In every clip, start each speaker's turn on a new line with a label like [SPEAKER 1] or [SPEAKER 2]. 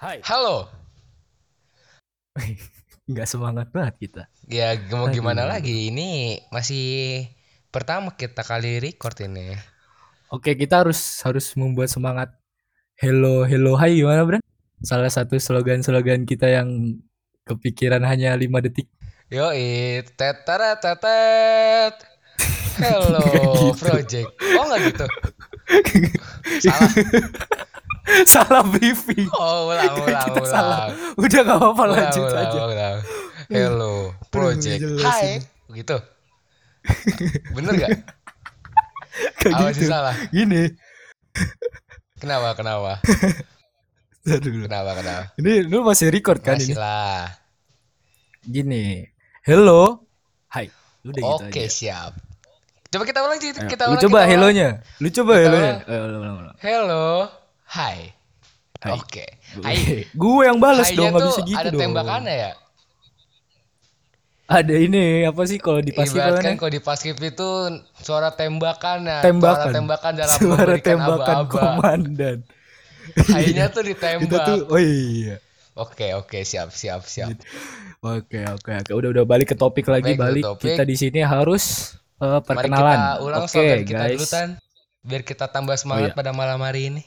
[SPEAKER 1] Hai.
[SPEAKER 2] Halo.
[SPEAKER 1] Nggak semangat banget kita.
[SPEAKER 2] Ya mau
[SPEAKER 1] Aduh.
[SPEAKER 2] gimana lagi? Ini masih pertama kita kali record ini.
[SPEAKER 1] Oke, kita harus harus membuat semangat. Hello, hello, hai gimana, Bran? Salah satu slogan-slogan kita yang kepikiran hanya lima detik.
[SPEAKER 2] Yoi, tetara tetet. Hello
[SPEAKER 1] Nggak gitu.
[SPEAKER 2] project. Oh nggak gitu. Salah.
[SPEAKER 1] salah briefing.
[SPEAKER 2] Oh ulang ulang
[SPEAKER 1] Kita
[SPEAKER 2] ulang.
[SPEAKER 1] salah. Udah gak apa-apa
[SPEAKER 2] Ulang,
[SPEAKER 1] lanjut
[SPEAKER 2] ulang,
[SPEAKER 1] aja.
[SPEAKER 2] ulang. Hello project.
[SPEAKER 1] jelas
[SPEAKER 2] Hai. Gitu. Bener nggak?
[SPEAKER 1] Kayak
[SPEAKER 2] Apa
[SPEAKER 1] gitu.
[SPEAKER 2] sih salah?
[SPEAKER 1] Gini.
[SPEAKER 2] Kenapa kenapa?
[SPEAKER 1] Bentar dulu.
[SPEAKER 2] Kenapa kenapa?
[SPEAKER 1] Ini lu masih record kan
[SPEAKER 2] Masih
[SPEAKER 1] ini?
[SPEAKER 2] lah.
[SPEAKER 1] Gini. Hello. Hai. Udah gitu
[SPEAKER 2] Oke
[SPEAKER 1] aja.
[SPEAKER 2] siap. Coba kita ulang Ci. kita
[SPEAKER 1] lu
[SPEAKER 2] ulang.
[SPEAKER 1] coba
[SPEAKER 2] kita ulang.
[SPEAKER 1] hello-nya. Lu coba
[SPEAKER 2] Kita
[SPEAKER 1] hello-nya.
[SPEAKER 2] ulang.
[SPEAKER 1] Eh, ulang, ulang, ulang.
[SPEAKER 2] Hello, hai.
[SPEAKER 1] Hai.
[SPEAKER 2] Oke. Hai.
[SPEAKER 1] Gue yang balas
[SPEAKER 2] Hai-nya
[SPEAKER 1] dong, nggak
[SPEAKER 2] tuh
[SPEAKER 1] bisa gitu
[SPEAKER 2] ada
[SPEAKER 1] dong.
[SPEAKER 2] tembakannya ya.
[SPEAKER 1] Ada ini apa sih kalau di pasir
[SPEAKER 2] Ibaratkan
[SPEAKER 1] kan?
[SPEAKER 2] kalau di paskib itu suara tembakan ya.
[SPEAKER 1] Tembakan.
[SPEAKER 2] Suara tembakan dalam
[SPEAKER 1] Suara
[SPEAKER 2] memberikan
[SPEAKER 1] tembakan
[SPEAKER 2] aba-aba.
[SPEAKER 1] komandan.
[SPEAKER 2] Hainya tuh
[SPEAKER 1] Kita
[SPEAKER 2] ditembak.
[SPEAKER 1] tuh, oh iya.
[SPEAKER 2] Oke, oke, siap, siap, siap.
[SPEAKER 1] Oke, oke, oke. Udah, udah balik ke topik
[SPEAKER 2] Baik,
[SPEAKER 1] lagi,
[SPEAKER 2] ke
[SPEAKER 1] balik.
[SPEAKER 2] topik.
[SPEAKER 1] Kita di sini harus eh,
[SPEAKER 2] Mari
[SPEAKER 1] perkenalan.
[SPEAKER 2] kita ulang
[SPEAKER 1] oke,
[SPEAKER 2] slogan kita dulu
[SPEAKER 1] guys.
[SPEAKER 2] Tan. Biar kita tambah semangat
[SPEAKER 1] iya.
[SPEAKER 2] pada malam hari ini.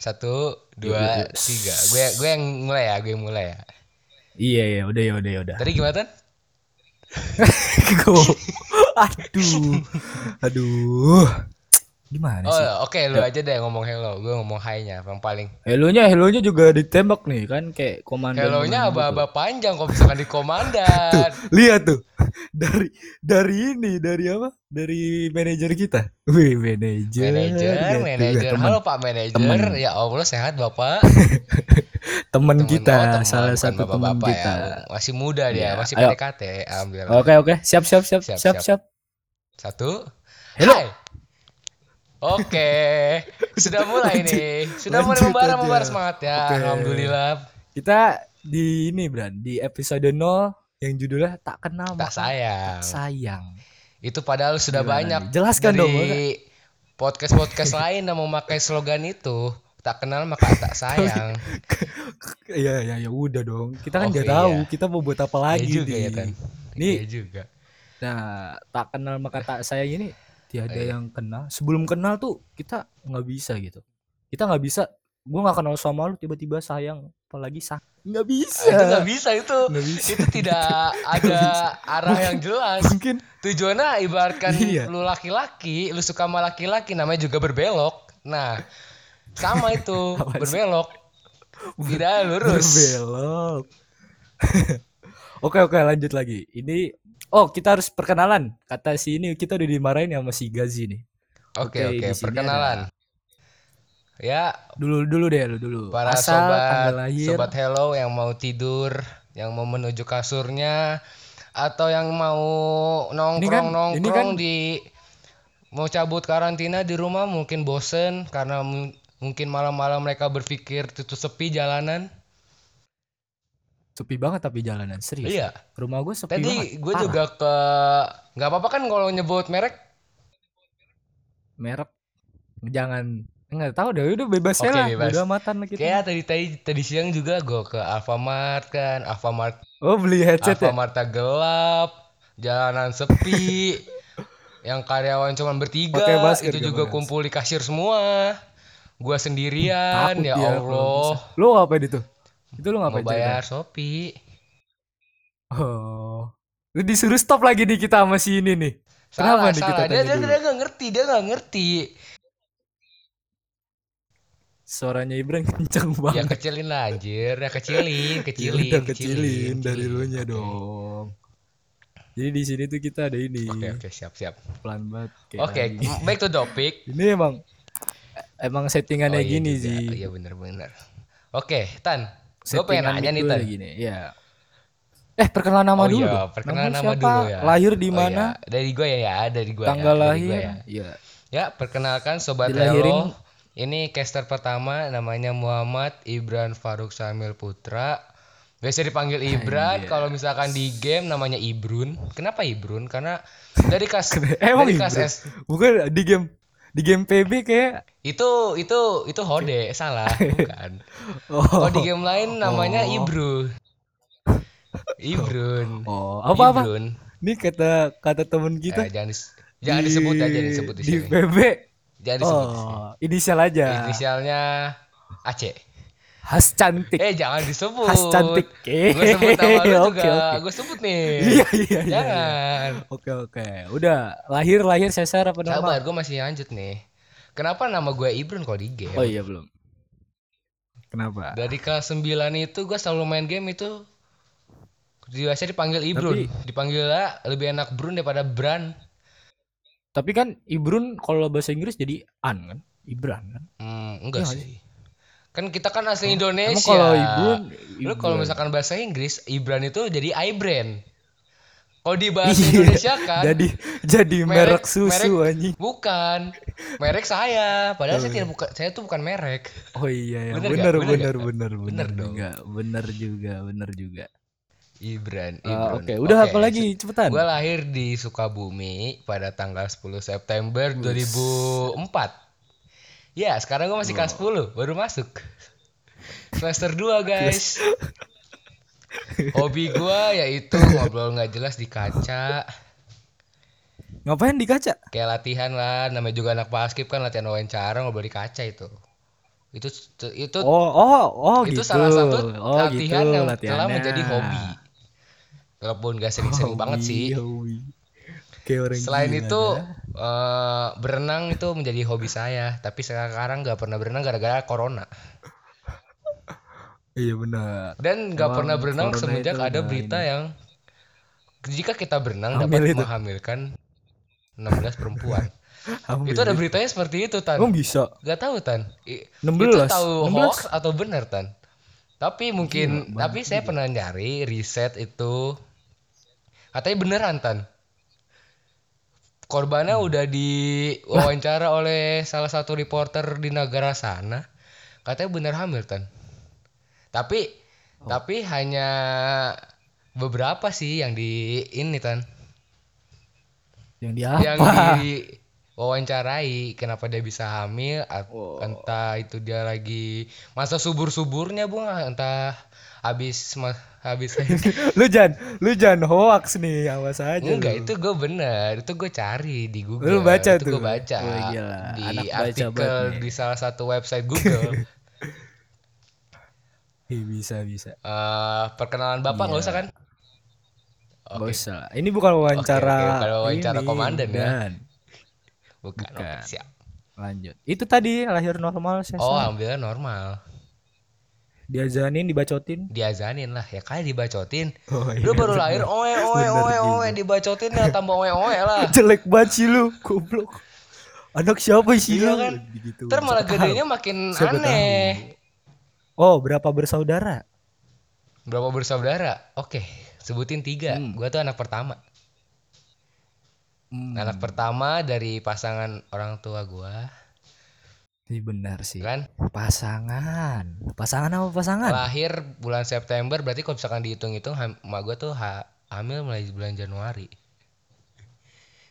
[SPEAKER 2] Satu, dua,
[SPEAKER 1] Yuk, yuk, yuk.
[SPEAKER 2] tiga. Gue gue yang mulai ya, gue yang mulai ya.
[SPEAKER 1] Iya, iya, udah, ya, udah, ya, udah.
[SPEAKER 2] Tadi gimana Tan?
[SPEAKER 1] Go. aduh. Aduh. Gimana sih?
[SPEAKER 2] Oh, oke, lu aja deh ngomong hello. Gue ngomong hi-nya yang paling.
[SPEAKER 1] Helonya, helonya juga ditembak nih kan kayak komandan.
[SPEAKER 2] Hello-nya
[SPEAKER 1] menang gitu.
[SPEAKER 2] aba-aba panjang kalau misalkan di komandan.
[SPEAKER 1] Lihat tuh. Dari dari ini, dari apa? Dari manajer kita. Wih, manajer.
[SPEAKER 2] manajer,
[SPEAKER 1] gitu.
[SPEAKER 2] manajer.
[SPEAKER 1] Teman,
[SPEAKER 2] Halo Pak manajer.
[SPEAKER 1] Temen.
[SPEAKER 2] Ya Allah sehat Bapak.
[SPEAKER 1] teman
[SPEAKER 2] Temen-
[SPEAKER 1] kita,
[SPEAKER 2] oh, temen,
[SPEAKER 1] salah
[SPEAKER 2] bukan
[SPEAKER 1] satu teman
[SPEAKER 2] bapak-bapak
[SPEAKER 1] kita.
[SPEAKER 2] Ya. Masih muda dia,
[SPEAKER 1] Iya,
[SPEAKER 2] masih
[SPEAKER 1] ayo.
[SPEAKER 2] PDKT. Alhamdulillah.
[SPEAKER 1] Oke, oke. Siap, siap, siap,
[SPEAKER 2] Siap,
[SPEAKER 1] siap, siap.
[SPEAKER 2] Satu.
[SPEAKER 1] Hello.
[SPEAKER 2] Hai. Oke, sudah mulai
[SPEAKER 1] Lanjut,
[SPEAKER 2] nih. Sudah mulai
[SPEAKER 1] lanjut
[SPEAKER 2] membara
[SPEAKER 1] aja.
[SPEAKER 2] membara semangat ya.
[SPEAKER 1] Oke.
[SPEAKER 2] Alhamdulillah.
[SPEAKER 1] Kita di ini, Bran, di episode 0 yang judulnya tak kenal
[SPEAKER 2] Tak
[SPEAKER 1] maka
[SPEAKER 2] sayang.
[SPEAKER 1] sayang.
[SPEAKER 2] Itu padahal sudah
[SPEAKER 1] Gimana
[SPEAKER 2] banyak.
[SPEAKER 1] nih? Jelaskan
[SPEAKER 2] dari
[SPEAKER 1] dong,
[SPEAKER 2] podcast-podcast lain yang memakai slogan itu. Tak kenal maka tak sayang.
[SPEAKER 1] Iya, ya, ya udah dong. Kita kan
[SPEAKER 2] Oke,
[SPEAKER 1] nggak tahu,
[SPEAKER 2] iya.
[SPEAKER 1] kita mau buat apa
[SPEAKER 2] Iya
[SPEAKER 1] lagi
[SPEAKER 2] juga ya,
[SPEAKER 1] Di.
[SPEAKER 2] Tan.
[SPEAKER 1] Ah, Ini
[SPEAKER 2] Iya juga.
[SPEAKER 1] Nah, tak kenal maka tak sayang ini tiada
[SPEAKER 2] Iya.
[SPEAKER 1] yang kenal. Sebelum kenal tuh kita nggak bisa gitu. Kita nggak bisa. Gue nggak kenal sama lu tiba-tiba sayang, apalagi sayang. Nggak bisa.
[SPEAKER 2] Ah, Itu nggak bisa itu.
[SPEAKER 1] Nggak bisa.
[SPEAKER 2] Itu tidak ada
[SPEAKER 1] bisa.
[SPEAKER 2] arah yang jelas.
[SPEAKER 1] Mungkin
[SPEAKER 2] Tujuannya ibaratkan
[SPEAKER 1] Iya.
[SPEAKER 2] lu laki-laki, lu suka sama laki-laki namanya juga berbelok. Nah, sama itu
[SPEAKER 1] Apa sih?
[SPEAKER 2] berbelok. Tidak lurus.
[SPEAKER 1] berbelok. oke oke lanjut lagi. Ini oh kita harus perkenalan. Kata si ini kita udah dimarahin sama si Gazi nih.
[SPEAKER 2] Oke,
[SPEAKER 1] Oke,
[SPEAKER 2] oke,
[SPEAKER 1] di sini
[SPEAKER 2] perkenalan. Ya,
[SPEAKER 1] Dulu dulu deh lu dulu.
[SPEAKER 2] para
[SPEAKER 1] Asal tanggal
[SPEAKER 2] sobat
[SPEAKER 1] lahir.
[SPEAKER 2] sobat hello yang mau tidur, yang mau menuju kasurnya atau yang mau nongkrong-nongkrong
[SPEAKER 1] kan- ini kan-
[SPEAKER 2] di mau cabut karantina di rumah mungkin bosen karena mu- mungkin malam-malam mereka berpikir itu sepi jalanan.
[SPEAKER 1] Sepi banget tapi jalanan serius.
[SPEAKER 2] Iya.
[SPEAKER 1] Rumah gue sepi banget.
[SPEAKER 2] Tadi gue
[SPEAKER 1] parah.
[SPEAKER 2] juga ke nggak apa-apa kan kalau nyebut merek.
[SPEAKER 1] merek jangan nggak tahu deh udah bebas
[SPEAKER 2] Oke,
[SPEAKER 1] aja lah
[SPEAKER 2] bebas.
[SPEAKER 1] udah matan lah kita
[SPEAKER 2] Kayak tadi tadi tadi siang juga gue ke Alfamart kan, Alfamart
[SPEAKER 1] oh beli headset ya
[SPEAKER 2] Alfamart gelap, jalanan sepi, yang karyawan cuma bertiga,
[SPEAKER 1] Pakai masker
[SPEAKER 2] itu
[SPEAKER 1] gak
[SPEAKER 2] juga
[SPEAKER 1] pakai
[SPEAKER 2] kumpul di kasir semua. Gua sendirian,
[SPEAKER 1] Takut
[SPEAKER 2] ya
[SPEAKER 1] dia kalau
[SPEAKER 2] Allah,
[SPEAKER 1] bisa. lu ngapain itu itu lu
[SPEAKER 2] mau
[SPEAKER 1] ngapain
[SPEAKER 2] bayar Shopee.
[SPEAKER 1] Jordan? oh lu disuruh stop lagi nih kita sama si ini nih
[SPEAKER 2] Salah,
[SPEAKER 1] Kenapa nih kita
[SPEAKER 2] salah. Dia,
[SPEAKER 1] tanya
[SPEAKER 2] dia,
[SPEAKER 1] dulu?
[SPEAKER 2] dia gak ngerti, dia gak ngerti.
[SPEAKER 1] suaranya Ibran kenceng
[SPEAKER 2] Ya
[SPEAKER 1] banget
[SPEAKER 2] kecilin lah anjir, ya kecilin,
[SPEAKER 1] Oh, Ya
[SPEAKER 2] kecilin,
[SPEAKER 1] udah kecilin dari
[SPEAKER 2] kecilin.
[SPEAKER 1] lu nya
[SPEAKER 2] Oke.
[SPEAKER 1] dong jadi di sini tuh kita ada ini
[SPEAKER 2] Oke, oke, siap, siap.
[SPEAKER 1] pelan banget kayak
[SPEAKER 2] Oke,
[SPEAKER 1] lagi.
[SPEAKER 2] back to topic.
[SPEAKER 1] ini emang emang settingannya
[SPEAKER 2] iya
[SPEAKER 1] gini
[SPEAKER 2] juga.
[SPEAKER 1] sih
[SPEAKER 2] Oh, iya bener-bener. Oke, Tan. Gue pengen
[SPEAKER 1] settingan
[SPEAKER 2] nanya nih,
[SPEAKER 1] itu
[SPEAKER 2] Tan.
[SPEAKER 1] udah gini ya eh perkenalan nama
[SPEAKER 2] Oh
[SPEAKER 1] dulu
[SPEAKER 2] iya,
[SPEAKER 1] dong.
[SPEAKER 2] perkenalan
[SPEAKER 1] Namanya
[SPEAKER 2] nama
[SPEAKER 1] siapa?
[SPEAKER 2] dulu ya.
[SPEAKER 1] lahir di
[SPEAKER 2] Oh,
[SPEAKER 1] mana
[SPEAKER 2] iya. Dari gue ya, ya, dari gue
[SPEAKER 1] tanggal
[SPEAKER 2] ya. dari
[SPEAKER 1] lahir
[SPEAKER 2] gua ya.
[SPEAKER 1] ya.
[SPEAKER 2] Ya, perkenalkan Sobat
[SPEAKER 1] Dilahirin-
[SPEAKER 2] Hello. Ini caster pertama namanya Muhammad Ibran Faruk Samil Putra. Biasa dipanggil Ibran,
[SPEAKER 1] Anjay.
[SPEAKER 2] kalau misalkan di game namanya Ibrun. Kenapa Ibrun? Karena dari kas
[SPEAKER 1] Eh, emang
[SPEAKER 2] dari
[SPEAKER 1] Ibran?
[SPEAKER 2] kas S
[SPEAKER 1] bukan di game di game PB kayak
[SPEAKER 2] Itu itu itu Hode, salah, bukan.
[SPEAKER 1] oh,
[SPEAKER 2] Kalau di game lain namanya
[SPEAKER 1] Oh.
[SPEAKER 2] Ibru. Ibrun.
[SPEAKER 1] oh apa apa
[SPEAKER 2] Ibrun.
[SPEAKER 1] nih kata kata temen
[SPEAKER 2] Ya,
[SPEAKER 1] kita
[SPEAKER 2] jangan dis- jangan disebut aja, jangan disebut di
[SPEAKER 1] di
[SPEAKER 2] sini.
[SPEAKER 1] PB
[SPEAKER 2] Jangan disebut di sini.
[SPEAKER 1] oh inisial aja
[SPEAKER 2] Inisialnya AC.
[SPEAKER 1] khas cantik
[SPEAKER 2] Eh jangan disebut.
[SPEAKER 1] khas cantik Ya,
[SPEAKER 2] Gue sebut nama lu
[SPEAKER 1] oke
[SPEAKER 2] juga.
[SPEAKER 1] oke
[SPEAKER 2] Gue sebut nih.
[SPEAKER 1] iya iya iya
[SPEAKER 2] Jangan.
[SPEAKER 1] oke oke udah lahir lahir sesar apa nama
[SPEAKER 2] Sabar, gue masih lanjut nih. Kenapa nama gue Ibrun kok di game?
[SPEAKER 1] oh iya belum kenapa
[SPEAKER 2] Dari kelas 9 itu gue selalu main game itu biasa dipanggil Ibrun. Dipanggil lah lebih enak Brun daripada Bran.
[SPEAKER 1] tapi kan Ibrun kalau bahasa Inggris jadi an kan Ibran kan
[SPEAKER 2] Hmm, enggak
[SPEAKER 1] Iya nggak
[SPEAKER 2] sih. Kan kita kan asli
[SPEAKER 1] Emang
[SPEAKER 2] Indonesia.
[SPEAKER 1] kalau Ibrun
[SPEAKER 2] Lu kalau
[SPEAKER 1] Ibran.
[SPEAKER 2] misalkan bahasa Inggris, Ibran itu jadi Ibran. Kalau di bahasa
[SPEAKER 1] Iya,
[SPEAKER 2] Indonesia kan
[SPEAKER 1] jadi jadi merek,
[SPEAKER 2] merek-
[SPEAKER 1] susu anjing Iya,
[SPEAKER 2] Bukan. Merek saya. Padahal saya tidak buka saya tuh bukan merek.
[SPEAKER 1] oh iya ya
[SPEAKER 2] Bener
[SPEAKER 1] bener
[SPEAKER 2] nggak? Bener
[SPEAKER 1] bener bener bener,
[SPEAKER 2] Bener dong.
[SPEAKER 1] juga bener juga bener juga
[SPEAKER 2] Ibran,
[SPEAKER 1] Eh,
[SPEAKER 2] Ibran.
[SPEAKER 1] oke udah
[SPEAKER 2] Iya, Oke,
[SPEAKER 1] apa lagi cepetan
[SPEAKER 2] Gue lahir di Sukabumi pada tanggal 10 September 2004. Ya, sekarang gue masih kelas 10, baru masuk. Semester 2,
[SPEAKER 1] Iya.
[SPEAKER 2] guys. Hobi gue yaitu ngobrol nggak jelas di kaca.
[SPEAKER 1] ngapain di kaca
[SPEAKER 2] Kayak latihan lah, namanya juga anak basket kan latihan wawancara ngobrol di kaca itu. Itu itu
[SPEAKER 1] oh oh oh
[SPEAKER 2] itu
[SPEAKER 1] gitu
[SPEAKER 2] salah satu
[SPEAKER 1] oh
[SPEAKER 2] latihan
[SPEAKER 1] gitu
[SPEAKER 2] yang telah
[SPEAKER 1] latihannya. Oh,
[SPEAKER 2] menjadi hobi. Walaupun gak sering-sering banget
[SPEAKER 1] Hobi,
[SPEAKER 2] sih.
[SPEAKER 1] hobi. kayak orang
[SPEAKER 2] Selain
[SPEAKER 1] gila
[SPEAKER 2] itu
[SPEAKER 1] dah.
[SPEAKER 2] eh, berenang itu menjadi hobi saya, tapi sekarang nggak pernah berenang gara-gara corona.
[SPEAKER 1] iya benar
[SPEAKER 2] Dan nggak
[SPEAKER 1] Emang
[SPEAKER 2] pernah berenang
[SPEAKER 1] corona
[SPEAKER 2] semenjak
[SPEAKER 1] itu
[SPEAKER 2] ada
[SPEAKER 1] udah
[SPEAKER 2] berita yang jika kita berenang
[SPEAKER 1] Hamil
[SPEAKER 2] dapat
[SPEAKER 1] itu.
[SPEAKER 2] menghamilkan 16 perempuan.
[SPEAKER 1] Ambil.
[SPEAKER 2] itu ada beritanya seperti itu tan.
[SPEAKER 1] emang bisa
[SPEAKER 2] Gak tahu tan. I-
[SPEAKER 1] 16?
[SPEAKER 2] Itu tahu
[SPEAKER 1] 16?
[SPEAKER 2] hoax atau benar tan. Tapi mungkin tapi saya pernah nyari riset itu katanya beneran tan. Korbannya udah diwawancara oleh salah satu reporter di negara sana. Katanya bener hamil tan. Tapi tapi hanya beberapa sih yang di ini tan
[SPEAKER 1] yang
[SPEAKER 2] yang
[SPEAKER 1] diapa
[SPEAKER 2] diwawancarai kenapa dia bisa hamil at-
[SPEAKER 1] Oh.
[SPEAKER 2] entah itu dia lagi masa subur suburnya bung ah, entah habis ma- habis
[SPEAKER 1] lu jangan lu jangan hoax nih awas aja
[SPEAKER 2] enggak
[SPEAKER 1] lu.
[SPEAKER 2] itu gue bener itu gue cari di Google
[SPEAKER 1] Lu
[SPEAKER 2] itu
[SPEAKER 1] baca tuh?
[SPEAKER 2] gue baca
[SPEAKER 1] Oh, gila.
[SPEAKER 2] di
[SPEAKER 1] Anak baca
[SPEAKER 2] artikel
[SPEAKER 1] banget nih.
[SPEAKER 2] di salah satu website Google
[SPEAKER 1] Ih, bisa bisa
[SPEAKER 2] Eh, perkenalan bapak
[SPEAKER 1] Iya.
[SPEAKER 2] nggak usah kan
[SPEAKER 1] Nggak usah. Ini bukan wawancara.
[SPEAKER 2] Oke, oke, bukan wawancara
[SPEAKER 1] ini,
[SPEAKER 2] komandan ya.
[SPEAKER 1] bukan.
[SPEAKER 2] bukan, oke,
[SPEAKER 1] Bukan.
[SPEAKER 2] siap
[SPEAKER 1] Lanjut. Itu tadi lahir normal saya.
[SPEAKER 2] oh alhamdulillah normal
[SPEAKER 1] Diazanin, dibacotin.
[SPEAKER 2] diazanin lah ya kali dibacotin
[SPEAKER 1] Oh,
[SPEAKER 2] Lu baru lahir oe oe oe oe dibacotin ya tambah oe oe lah.
[SPEAKER 1] Jelek banget sih lu, goblok. Anak siapa sih
[SPEAKER 2] Iya
[SPEAKER 1] lu?
[SPEAKER 2] kan?
[SPEAKER 1] Gitu.
[SPEAKER 2] Ntar malah
[SPEAKER 1] Siapa
[SPEAKER 2] gedenya makin
[SPEAKER 1] Siapa
[SPEAKER 2] aneh.
[SPEAKER 1] tahu? Oh, berapa bersaudara?
[SPEAKER 2] Berapa bersaudara? Oke, sebutin tiga.
[SPEAKER 1] Hmm.
[SPEAKER 2] Gua tuh anak pertama.
[SPEAKER 1] Hmm,
[SPEAKER 2] Anak pertama dari pasangan orang tua gua,
[SPEAKER 1] ini benar sih.
[SPEAKER 2] kan?
[SPEAKER 1] Pasangan. Pasangan apa pasangan?
[SPEAKER 2] Lahir bulan September, berarti kalau misalkan dihitung-hitung, ham- emak gua tuh ha- hamil mulai bulan Januari.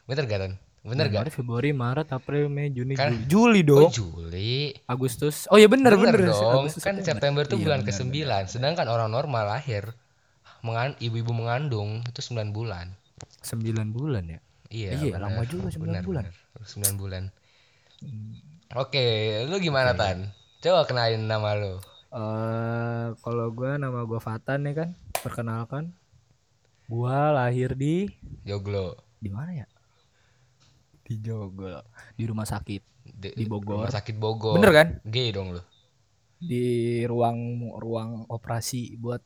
[SPEAKER 2] Bener gak, Tan? Bener gak?
[SPEAKER 1] Januari, Februari, Maret, April, Mei, Juni,
[SPEAKER 2] Kan-
[SPEAKER 1] Juli. Juli
[SPEAKER 2] Oh,
[SPEAKER 1] dong.
[SPEAKER 2] Juli.
[SPEAKER 1] Agustus. Oh iya benar benar.
[SPEAKER 2] dong.
[SPEAKER 1] Agustus,
[SPEAKER 2] kan September tuh
[SPEAKER 1] Iya,
[SPEAKER 2] bulan
[SPEAKER 1] benar,
[SPEAKER 2] ke-9. Sedangkan orang normal lahir mengan ibu-ibu mengandung itu 9 bulan.
[SPEAKER 1] Sembilan bulan ya.
[SPEAKER 2] Iya,
[SPEAKER 1] Iya,
[SPEAKER 2] benar.
[SPEAKER 1] lama juga 9
[SPEAKER 2] Benar,
[SPEAKER 1] bulan.
[SPEAKER 2] benar. 9 bulan. Oke, lu gimana Tan? Coba kenalin nama lu.
[SPEAKER 1] eh kalau gua nama gua Fatan ya kan, perkenalkan. Gua lahir di
[SPEAKER 2] Joglo.
[SPEAKER 1] di mana ya? Di Jogol, di rumah sakit, Di Bogor.
[SPEAKER 2] Rumah sakit Bogor.
[SPEAKER 1] Bener kan?
[SPEAKER 2] Gay dong lu.
[SPEAKER 1] di ruang ruang operasi buat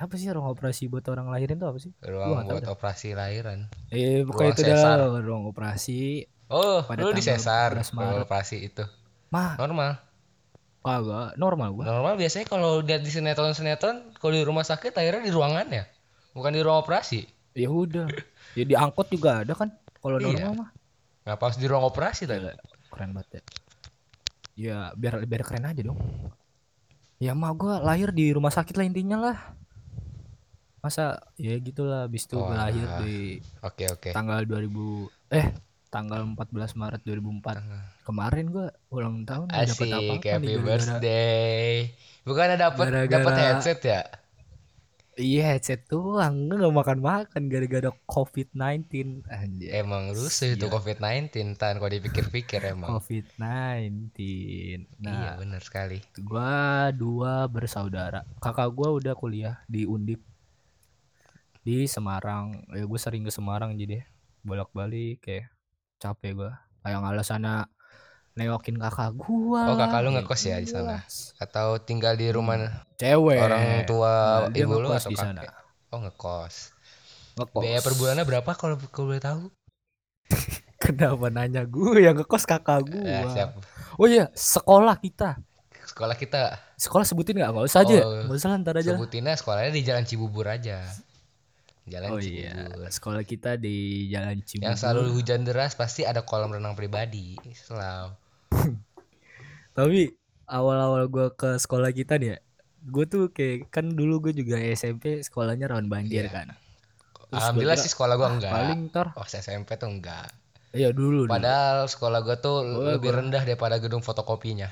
[SPEAKER 1] apa sih ruang operasi buat orang lahirin tuh apa sih? Gua
[SPEAKER 2] Ruang
[SPEAKER 1] nggak tahu
[SPEAKER 2] buat operasi lahiran.
[SPEAKER 1] Eh,
[SPEAKER 2] Ruang
[SPEAKER 1] pokoknya itu
[SPEAKER 2] sesar.
[SPEAKER 1] dah ruang operasi.
[SPEAKER 2] Oh,
[SPEAKER 1] Pada
[SPEAKER 2] lu di
[SPEAKER 1] tanggal
[SPEAKER 2] sesar
[SPEAKER 1] 14
[SPEAKER 2] kalau
[SPEAKER 1] Maret.
[SPEAKER 2] operasi itu.
[SPEAKER 1] Mah,
[SPEAKER 2] Normal.
[SPEAKER 1] kagak normal gua.
[SPEAKER 2] Normal biasanya kalau lihat di sinetron-sinetron kalau di rumah sakit akhirnya di ruangannya. Bukan di ruang operasi.
[SPEAKER 1] Ya udah. Ya diangkut juga ada kan kalau
[SPEAKER 2] Iya.
[SPEAKER 1] normal mah.
[SPEAKER 2] Ngapa harus di ruang operasi tadi?
[SPEAKER 1] Gila, keren banget ya. Ya biar biar keren aja dong. Ya mah gue lahir di rumah sakit lah intinya lah. Masa ya gitulah. Abis itu gue
[SPEAKER 2] Wah.
[SPEAKER 1] lahir di
[SPEAKER 2] Oke oke.
[SPEAKER 1] tanggal 2000 eh tanggal 14 Maret 2004.
[SPEAKER 2] Tanggal.
[SPEAKER 1] Kemarin gua ulang tahun nggak dapat
[SPEAKER 2] Asik,
[SPEAKER 1] apa-apa
[SPEAKER 2] happy
[SPEAKER 1] nih gara-gara-
[SPEAKER 2] birthday. Bukan dapat
[SPEAKER 1] Gara-gara-
[SPEAKER 2] dapat headset ya?
[SPEAKER 1] Iya headset doang, gua nggak makan-makan gara-gara COVID-19 anjir.
[SPEAKER 2] Emang rusuh itu
[SPEAKER 1] Iya. Oh,
[SPEAKER 2] COVID-19 tan kalau dipikir-pikir emang.
[SPEAKER 1] COVID-19.
[SPEAKER 2] Iya
[SPEAKER 1] Nah,
[SPEAKER 2] benar sekali.
[SPEAKER 1] gua dua bersaudara. Kakak gua udah kuliah di Undip di Semarang. Ya gue sering ke Semarang jadi bolak-balik kayak capek gua. Kayak alasannya neokin kakak gua.
[SPEAKER 2] Oh, kakak
[SPEAKER 1] lah,
[SPEAKER 2] lu
[SPEAKER 1] kayak
[SPEAKER 2] ngekos ya di
[SPEAKER 1] gua.
[SPEAKER 2] sana? Atau tinggal di rumah
[SPEAKER 1] Cewek.
[SPEAKER 2] orang tua
[SPEAKER 1] Hmm. Nah, dia
[SPEAKER 2] ibu lu
[SPEAKER 1] ngekos
[SPEAKER 2] atau
[SPEAKER 1] di sana.
[SPEAKER 2] kakek? Oh ngekos.
[SPEAKER 1] Ngekos.
[SPEAKER 2] Biaya per bulannya berapa kalau kalau boleh tahu?
[SPEAKER 1] Kenapa nanya gue yang ngekos kakak gua?
[SPEAKER 2] Eh, siap.
[SPEAKER 1] Oh iya, sekolah kita.
[SPEAKER 2] Sekolah kita
[SPEAKER 1] Sekolah sebutin nggak? Nggak usah aja. ya?
[SPEAKER 2] Oh,
[SPEAKER 1] Nggak usah lah, ntar aja. lah.
[SPEAKER 2] sebutinnya sekolahnya di Jalan Cibubur aja. Jalan
[SPEAKER 1] Oh iya,
[SPEAKER 2] Cibubur.
[SPEAKER 1] sekolah kita di Jalan Cibubur.
[SPEAKER 2] Yang selalu hujan deras pasti ada kolam renang pribadi. Selalu.
[SPEAKER 1] Tapi awal-awal gua ke sekolah kita nih ya, gue tuh kayak kan dulu gue juga SMP sekolahnya rawan banjir
[SPEAKER 2] Iya.
[SPEAKER 1] kan. Terus gua
[SPEAKER 2] Alhamdulillah
[SPEAKER 1] kira,
[SPEAKER 2] sih sekolah gua
[SPEAKER 1] "Ah,
[SPEAKER 2] enggak. Oh,
[SPEAKER 1] Paling ntar,
[SPEAKER 2] Waktu SMP tuh enggak.
[SPEAKER 1] iya dulu. dulu.
[SPEAKER 2] Padahal sekolah gua tuh
[SPEAKER 1] Gua-
[SPEAKER 2] lebih
[SPEAKER 1] gua-
[SPEAKER 2] rendah daripada gedung fotokopinya.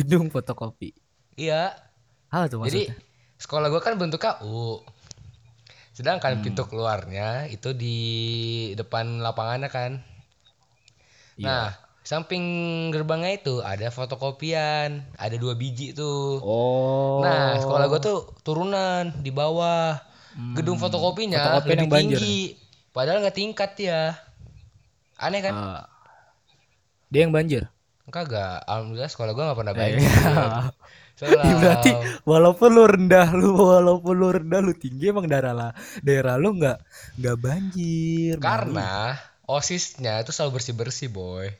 [SPEAKER 1] gedung fotokopi.
[SPEAKER 2] Iya.
[SPEAKER 1] Apa tuh
[SPEAKER 2] Jadi
[SPEAKER 1] maksudnya?
[SPEAKER 2] sekolah gua kan bentuknya U. Sedangkan
[SPEAKER 1] Hmm.
[SPEAKER 2] pintu keluarnya itu di depan lapangannya kan.
[SPEAKER 1] Iya.
[SPEAKER 2] Nah, samping gerbangnya itu ada fotokopian, ada dua biji tuh.
[SPEAKER 1] oh.
[SPEAKER 2] Nah, sekolah gua tuh turunan di bawah.
[SPEAKER 1] Hmm.
[SPEAKER 2] Gedung fotokopinya
[SPEAKER 1] Fotokopian
[SPEAKER 2] lebih
[SPEAKER 1] yang banjir.
[SPEAKER 2] tinggi. Padahal nggak tingkat ya. Aneh kan?
[SPEAKER 1] Ah. dia yang banjir.
[SPEAKER 2] Kagak. Alhamdulillah sekolah gua nggak pernah
[SPEAKER 1] Eh,
[SPEAKER 2] banjir. Selalu.
[SPEAKER 1] berarti walaupun lu rendah lu walaupun lu rendah lu tinggi emang daerah lah daerah lu nggak nggak banjir Mali.
[SPEAKER 2] Karena osisnya itu selalu bersih bersih boy.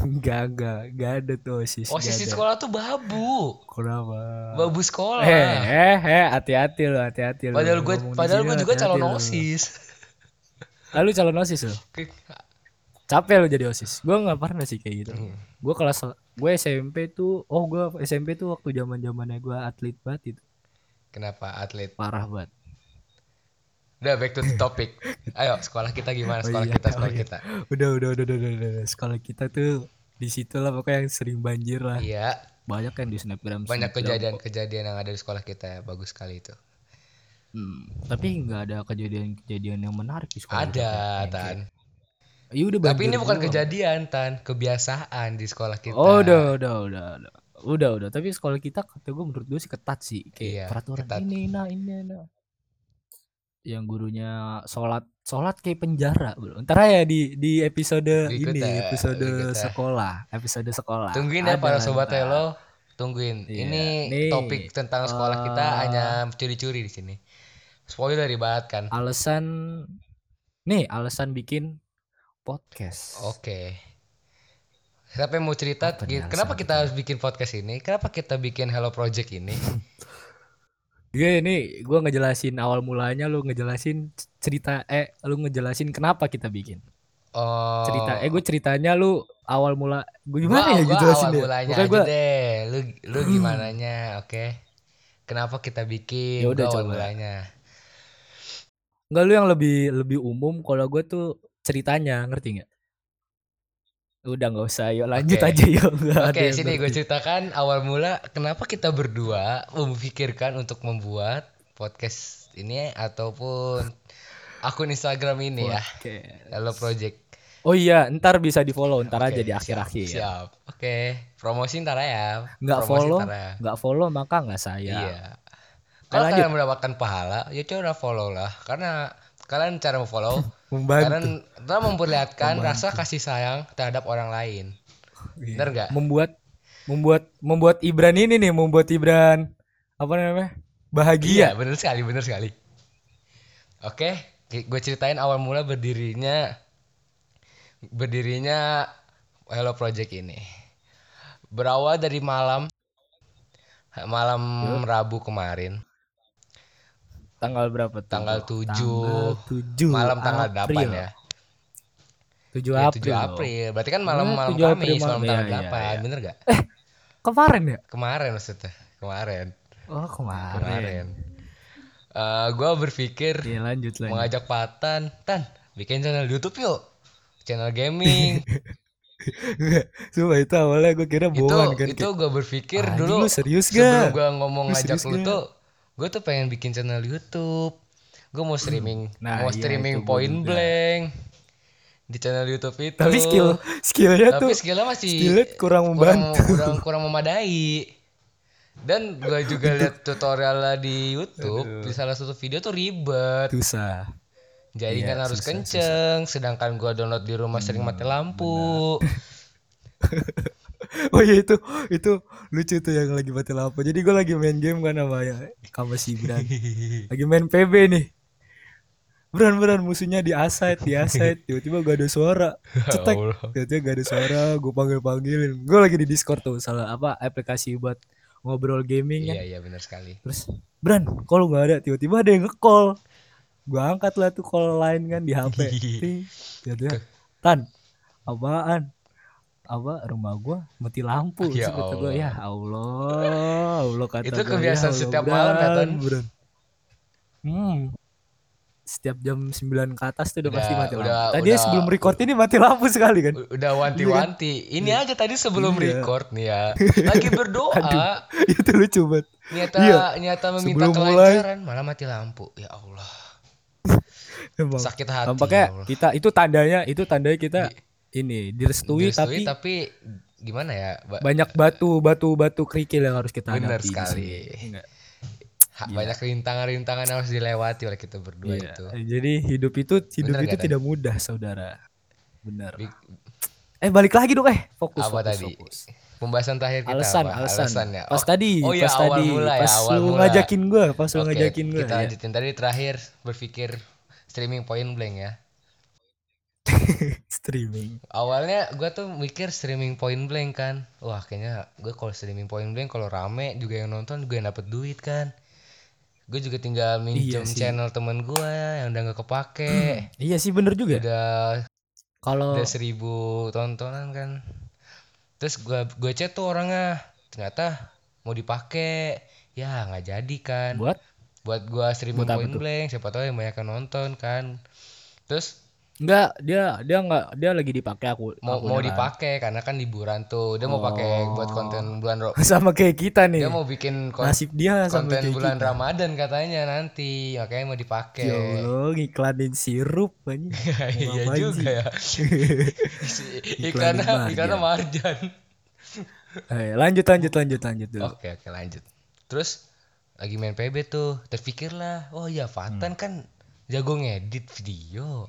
[SPEAKER 1] Enggak, enggak, enggak ada tuh osis.
[SPEAKER 2] Osis di
[SPEAKER 1] enggak ada.
[SPEAKER 2] Oh, sekolah tuh babu,
[SPEAKER 1] Kenapa?
[SPEAKER 2] babu sekolah.
[SPEAKER 1] Eh, eh, eh, hati-hati lo, hati-hati lo.
[SPEAKER 2] padahal gue, padahal gue juga calon osis.
[SPEAKER 1] Lalu Ah, calon osis lo.
[SPEAKER 2] Ke-
[SPEAKER 1] Capek lo jadi osis. Gue nggak pernah sih kayak gitu.
[SPEAKER 2] Hmm.
[SPEAKER 1] Gue kelas, gue SMP tuh, oh gue SMP tuh waktu zaman zamannya gue atlet banget itu,
[SPEAKER 2] Kenapa atlet?
[SPEAKER 1] parah banget.
[SPEAKER 2] Udah back to the topic. Ayo sekolah kita gimana?
[SPEAKER 1] Oh
[SPEAKER 2] Sekolah
[SPEAKER 1] iya,
[SPEAKER 2] kita, sekolah
[SPEAKER 1] oh iya.
[SPEAKER 2] kita.
[SPEAKER 1] Udah, udah, udah, udah, udah, udah, udah. Sekolah kita tuh di situ lah pokoknya yang sering banjir lah.
[SPEAKER 2] Iya,
[SPEAKER 1] Banyak yang di snapgram.
[SPEAKER 2] banyak
[SPEAKER 1] snapgram.
[SPEAKER 2] kejadian-kejadian yang ada di sekolah kita. Bagus sekali itu.
[SPEAKER 1] Hmm, Tapi nggak ada kejadian-kejadian yang menarik di sekolah. kita.
[SPEAKER 2] Ada,
[SPEAKER 1] Yang kayak-
[SPEAKER 2] Tan.
[SPEAKER 1] Iya udah
[SPEAKER 2] Tapi
[SPEAKER 1] banjir
[SPEAKER 2] ini bukan
[SPEAKER 1] doang.
[SPEAKER 2] kejadian, Tan. Kebiasaan di sekolah kita.
[SPEAKER 1] Oh, udah, udah, udah, udah. Udah, udah. Tapi sekolah kita kata gue menurut gue sih ketat sih. Kayak
[SPEAKER 2] Iya,
[SPEAKER 1] peraturan
[SPEAKER 2] ketat.
[SPEAKER 1] ini, nah, ini, nah. Yang gurunya sholat, sholat kayak penjara, bro. Ntar ya di di episode
[SPEAKER 2] Berikut
[SPEAKER 1] ini,
[SPEAKER 2] ya,
[SPEAKER 1] episode
[SPEAKER 2] berikut ya.
[SPEAKER 1] sekolah, episode sekolah.
[SPEAKER 2] Tungguin ya
[SPEAKER 1] Ada
[SPEAKER 2] para
[SPEAKER 1] lah
[SPEAKER 2] sobat
[SPEAKER 1] ntar.
[SPEAKER 2] Hello. Tungguin.
[SPEAKER 1] Iya.
[SPEAKER 2] Ini
[SPEAKER 1] Nih,
[SPEAKER 2] topik tentang sekolah kita
[SPEAKER 1] eh,
[SPEAKER 2] hanya curi-curi di sini. Spoiler banget kan.
[SPEAKER 1] Alasan nih, alasan bikin podcast.
[SPEAKER 2] Oke. Siapa yang mau cerita?
[SPEAKER 1] Apa
[SPEAKER 2] Gi-
[SPEAKER 1] nih
[SPEAKER 2] Kenapa
[SPEAKER 1] alasan
[SPEAKER 2] kita harus bikin podcast ini? Kenapa kita bikin Hello Project ini?
[SPEAKER 1] Iya ini gue ngejelasin awal mulanya lu ngejelasin c- cerita eh lu ngejelasin kenapa kita bikin
[SPEAKER 2] Oh,
[SPEAKER 1] cerita eh gue ceritanya lu awal mula
[SPEAKER 2] gua,
[SPEAKER 1] gue gimana ya
[SPEAKER 2] gua
[SPEAKER 1] gue jelasin
[SPEAKER 2] awal
[SPEAKER 1] deh
[SPEAKER 2] mulanya
[SPEAKER 1] pokoknya Hmm.
[SPEAKER 2] aja
[SPEAKER 1] gue
[SPEAKER 2] deh. Lu lu gimana Oke. Kenapa kita bikin?
[SPEAKER 1] Ya udah,
[SPEAKER 2] Gua awal
[SPEAKER 1] coba.
[SPEAKER 2] mulanya.
[SPEAKER 1] nggak lu yang lebih lebih umum kalau gue tuh ceritanya ngerti nggak udah nggak usah yuk lanjut
[SPEAKER 2] Oke.
[SPEAKER 1] aja yuk nggak ada
[SPEAKER 2] Oke,
[SPEAKER 1] yang
[SPEAKER 2] sini gue
[SPEAKER 1] ngerti.
[SPEAKER 2] ceritakan awal mula kenapa kita berdua memikirkan untuk membuat podcast ini ataupun akun Instagram ini ya,
[SPEAKER 1] Oke.
[SPEAKER 2] Hello Project.
[SPEAKER 1] oh iya ntar bisa di follow ntar
[SPEAKER 2] Oke,
[SPEAKER 1] aja di ya.
[SPEAKER 2] siap,
[SPEAKER 1] akhir akhir
[SPEAKER 2] Siap. Oke, promosi ntar ya.
[SPEAKER 1] nggak
[SPEAKER 2] Promosi
[SPEAKER 1] follow
[SPEAKER 2] ntar ya.
[SPEAKER 1] nggak follow maka nggak saya
[SPEAKER 2] Iya. Kalau
[SPEAKER 1] lanjut.
[SPEAKER 2] kalian mendapatkan pahala, ya coba follow lah. Karena kalian cara memfollow,
[SPEAKER 1] membantu Iya.
[SPEAKER 2] kalian telah memperlihatkan rasa kasih sayang terhadap orang lain.
[SPEAKER 1] Iya.
[SPEAKER 2] Bener nggak?
[SPEAKER 1] membuat membuat membuat Ibran ini nih membuat Ibran apa namanya bahagia
[SPEAKER 2] Iya, bener sekali, bener sekali. Oke, gue ceritain awal mula berdirinya berdirinya Hello Project ini. Berawal dari malam malam
[SPEAKER 1] Iya.
[SPEAKER 2] Rabu kemarin,
[SPEAKER 1] tanggal berapa tuh?
[SPEAKER 2] Tanggal
[SPEAKER 1] tanggal 7
[SPEAKER 2] malam tanggal 8 ya.
[SPEAKER 1] 7
[SPEAKER 2] Ya,
[SPEAKER 1] April,
[SPEAKER 2] 7 April. Berarti kan malam
[SPEAKER 1] Eh,
[SPEAKER 2] malam
[SPEAKER 1] 7 April
[SPEAKER 2] Kamis, malam
[SPEAKER 1] malam.
[SPEAKER 2] tanggal
[SPEAKER 1] Iya, iya,
[SPEAKER 2] 8,
[SPEAKER 1] iya.
[SPEAKER 2] bener gak?
[SPEAKER 1] kemarin ya
[SPEAKER 2] Kemarin maksudnya, kemarin,
[SPEAKER 1] oh kemarin,
[SPEAKER 2] kemarin. Eh, gua berpikir
[SPEAKER 1] Iya, lanjut lanjut
[SPEAKER 2] mengajak Patan, Tan, bikin channel YouTube yuk channel gaming
[SPEAKER 1] Sumpah itu awalnya gue kira
[SPEAKER 2] itu
[SPEAKER 1] bohongan kan
[SPEAKER 2] itu
[SPEAKER 1] kayak,
[SPEAKER 2] gue berpikir
[SPEAKER 1] "Anjing,
[SPEAKER 2] dulu
[SPEAKER 1] lu serius
[SPEAKER 2] sebelum
[SPEAKER 1] gak?
[SPEAKER 2] gue ngomong
[SPEAKER 1] Lu
[SPEAKER 2] ngajak
[SPEAKER 1] serius
[SPEAKER 2] lu
[SPEAKER 1] nggak?
[SPEAKER 2] tuh gue tuh pengen bikin channel YouTube gue mau streaming
[SPEAKER 1] Nah,
[SPEAKER 2] mau
[SPEAKER 1] iya, itu
[SPEAKER 2] streaming
[SPEAKER 1] gua
[SPEAKER 2] point
[SPEAKER 1] juga.
[SPEAKER 2] blank di channel YouTube itu
[SPEAKER 1] Tapi skill skillnya
[SPEAKER 2] tapi
[SPEAKER 1] tuh
[SPEAKER 2] skillnya masih
[SPEAKER 1] skillnya kurang
[SPEAKER 2] kurang,
[SPEAKER 1] membantu.
[SPEAKER 2] kurang kurang memadai dan gue juga lihat tutorialnya di YouTube di salah satu video tuh ribet
[SPEAKER 1] susah.
[SPEAKER 2] jaringan
[SPEAKER 1] Iya,
[SPEAKER 2] harus
[SPEAKER 1] susah, Hmm,
[SPEAKER 2] kenceng sedangkan gua download di rumah sering mati lampu
[SPEAKER 1] Oh iya itu itu lucu tuh yang lagi mati lampu. Jadi gue lagi main game kan sama ya sama si Bran. Lagi main PB nih. Bran Bran musuhnya di aside di aside tiba-tiba gak ada suara. Cetek.
[SPEAKER 2] Allah.
[SPEAKER 1] Tiba-tiba gak ada suara. Gue panggil panggilin. Gue lagi di Discord tuh salah apa aplikasi buat ngobrol gaming
[SPEAKER 2] iya
[SPEAKER 1] ya.
[SPEAKER 2] iya benar sekali
[SPEAKER 1] Terus Bran, kalau nggak ada tiba-tiba ada yang nge-call. Gua angkat lah tuh call lain kan di HP.
[SPEAKER 2] Iya.
[SPEAKER 1] Ting. Tiba-tiba, Tan, apaan? Apa rumah gua mati lampu
[SPEAKER 2] Ya
[SPEAKER 1] Terus kata gua,
[SPEAKER 2] Allah.
[SPEAKER 1] ya Allah, Allah kata
[SPEAKER 2] Itu
[SPEAKER 1] gua, "Ya
[SPEAKER 2] kebiasaan
[SPEAKER 1] Allah,
[SPEAKER 2] setiap malam ya, Tan?
[SPEAKER 1] Bran. Hmm. Setiap jam 9 ke atas tuh udah,
[SPEAKER 2] Udah-
[SPEAKER 1] pasti mati lampu.
[SPEAKER 2] udah-
[SPEAKER 1] Tadinya
[SPEAKER 2] udah-
[SPEAKER 1] sebelum record ini mati lampu sekali kan.
[SPEAKER 2] U- udah wanti-wanti ini aja tadi sebelum
[SPEAKER 1] Iya.
[SPEAKER 2] record nih ya lagi berdoa
[SPEAKER 1] Itu lucu banget.
[SPEAKER 2] nyata
[SPEAKER 1] Iya.
[SPEAKER 2] nyata meminta
[SPEAKER 1] Sebelum mulai.
[SPEAKER 2] kelancaran malah mati lampu ya Allah
[SPEAKER 1] Emang.
[SPEAKER 2] sakit hati
[SPEAKER 1] Tampaknya
[SPEAKER 2] ya Allah.
[SPEAKER 1] kita itu tandanya itu tandanya kita ini direstui,
[SPEAKER 2] Direstui,
[SPEAKER 1] tapi
[SPEAKER 2] gimana ya ba-
[SPEAKER 1] banyak batu batu batu kerikil yang harus kita
[SPEAKER 2] Benar
[SPEAKER 1] hadapi di
[SPEAKER 2] sekali.
[SPEAKER 1] sini. Iya. Enggak.
[SPEAKER 2] ha- banyak rintangan-rintangan yang harus dilewati oleh kita berdua
[SPEAKER 1] Iya.
[SPEAKER 2] itu
[SPEAKER 1] jadi hidup itu hidup
[SPEAKER 2] Bener
[SPEAKER 1] itu
[SPEAKER 2] nggak,
[SPEAKER 1] tidak mudah saudara benar
[SPEAKER 2] Bi-
[SPEAKER 1] eh balik lagi dong eh fokus
[SPEAKER 2] Apa
[SPEAKER 1] fokus,
[SPEAKER 2] tadi?
[SPEAKER 1] fokus.
[SPEAKER 2] pembahasan terakhir kita
[SPEAKER 1] alasan
[SPEAKER 2] apa?
[SPEAKER 1] alasan
[SPEAKER 2] Alasannya.
[SPEAKER 1] pas
[SPEAKER 2] Oh,
[SPEAKER 1] tadi
[SPEAKER 2] oh iya,
[SPEAKER 1] pas
[SPEAKER 2] awal
[SPEAKER 1] tadi
[SPEAKER 2] mula ya,
[SPEAKER 1] pas
[SPEAKER 2] awal
[SPEAKER 1] lu
[SPEAKER 2] mula.
[SPEAKER 1] ngajakin gue pas lu
[SPEAKER 2] oke,
[SPEAKER 1] ngajakin gue
[SPEAKER 2] kita
[SPEAKER 1] ya.
[SPEAKER 2] lanjutin tadi terakhir berpikir streaming point blank ya
[SPEAKER 1] streaming
[SPEAKER 2] awalnya gua tuh mikir streaming point blank kan wah kayaknya gue kalau streaming point blank kalau rame juga yang nonton juga yang dapet duit kan gue juga tinggal minjem
[SPEAKER 1] Iya sih.
[SPEAKER 2] channel temen gua yang udah nggak kepake
[SPEAKER 1] iya sih bener juga
[SPEAKER 2] udah
[SPEAKER 1] kalau
[SPEAKER 2] udah seribu tontonan kan terus gua gua chat tuh orangnya ternyata mau dipakai ya nggak jadi kan
[SPEAKER 1] buat
[SPEAKER 2] buat gua streaming
[SPEAKER 1] Buat apa
[SPEAKER 2] point
[SPEAKER 1] tuh?
[SPEAKER 2] blank siapa tahu yang banyak yang nonton kan terus
[SPEAKER 1] enggak dia dia enggak dia lagi dipakai aku
[SPEAKER 2] mau
[SPEAKER 1] akunnya
[SPEAKER 2] mau
[SPEAKER 1] kan.
[SPEAKER 2] dipakai karena kan liburan tuh dia mau
[SPEAKER 1] Oh.
[SPEAKER 2] pakai buat konten bulan Ro-
[SPEAKER 1] sama kayak kita nih
[SPEAKER 2] dia mau bikin kon-
[SPEAKER 1] nasib dia sama
[SPEAKER 2] konten
[SPEAKER 1] kayak gitu.
[SPEAKER 2] bulan
[SPEAKER 1] kita
[SPEAKER 2] Ramadan katanya nanti makanya mau dipakai
[SPEAKER 1] Ya Allah, ngiklanin sirup anjing.
[SPEAKER 2] iya
[SPEAKER 1] Ngapain
[SPEAKER 2] juga
[SPEAKER 1] sih?
[SPEAKER 2] ya
[SPEAKER 1] Iklanin
[SPEAKER 2] iklannya iklannya marjan
[SPEAKER 1] Eh, lanjut lanjut lanjut lanjut dulu.
[SPEAKER 2] Oke oke lanjut. Terus lagi main PB tuh, terpikirlah, oh iya Fatan
[SPEAKER 1] Hmm.
[SPEAKER 2] kan jago ngedit video.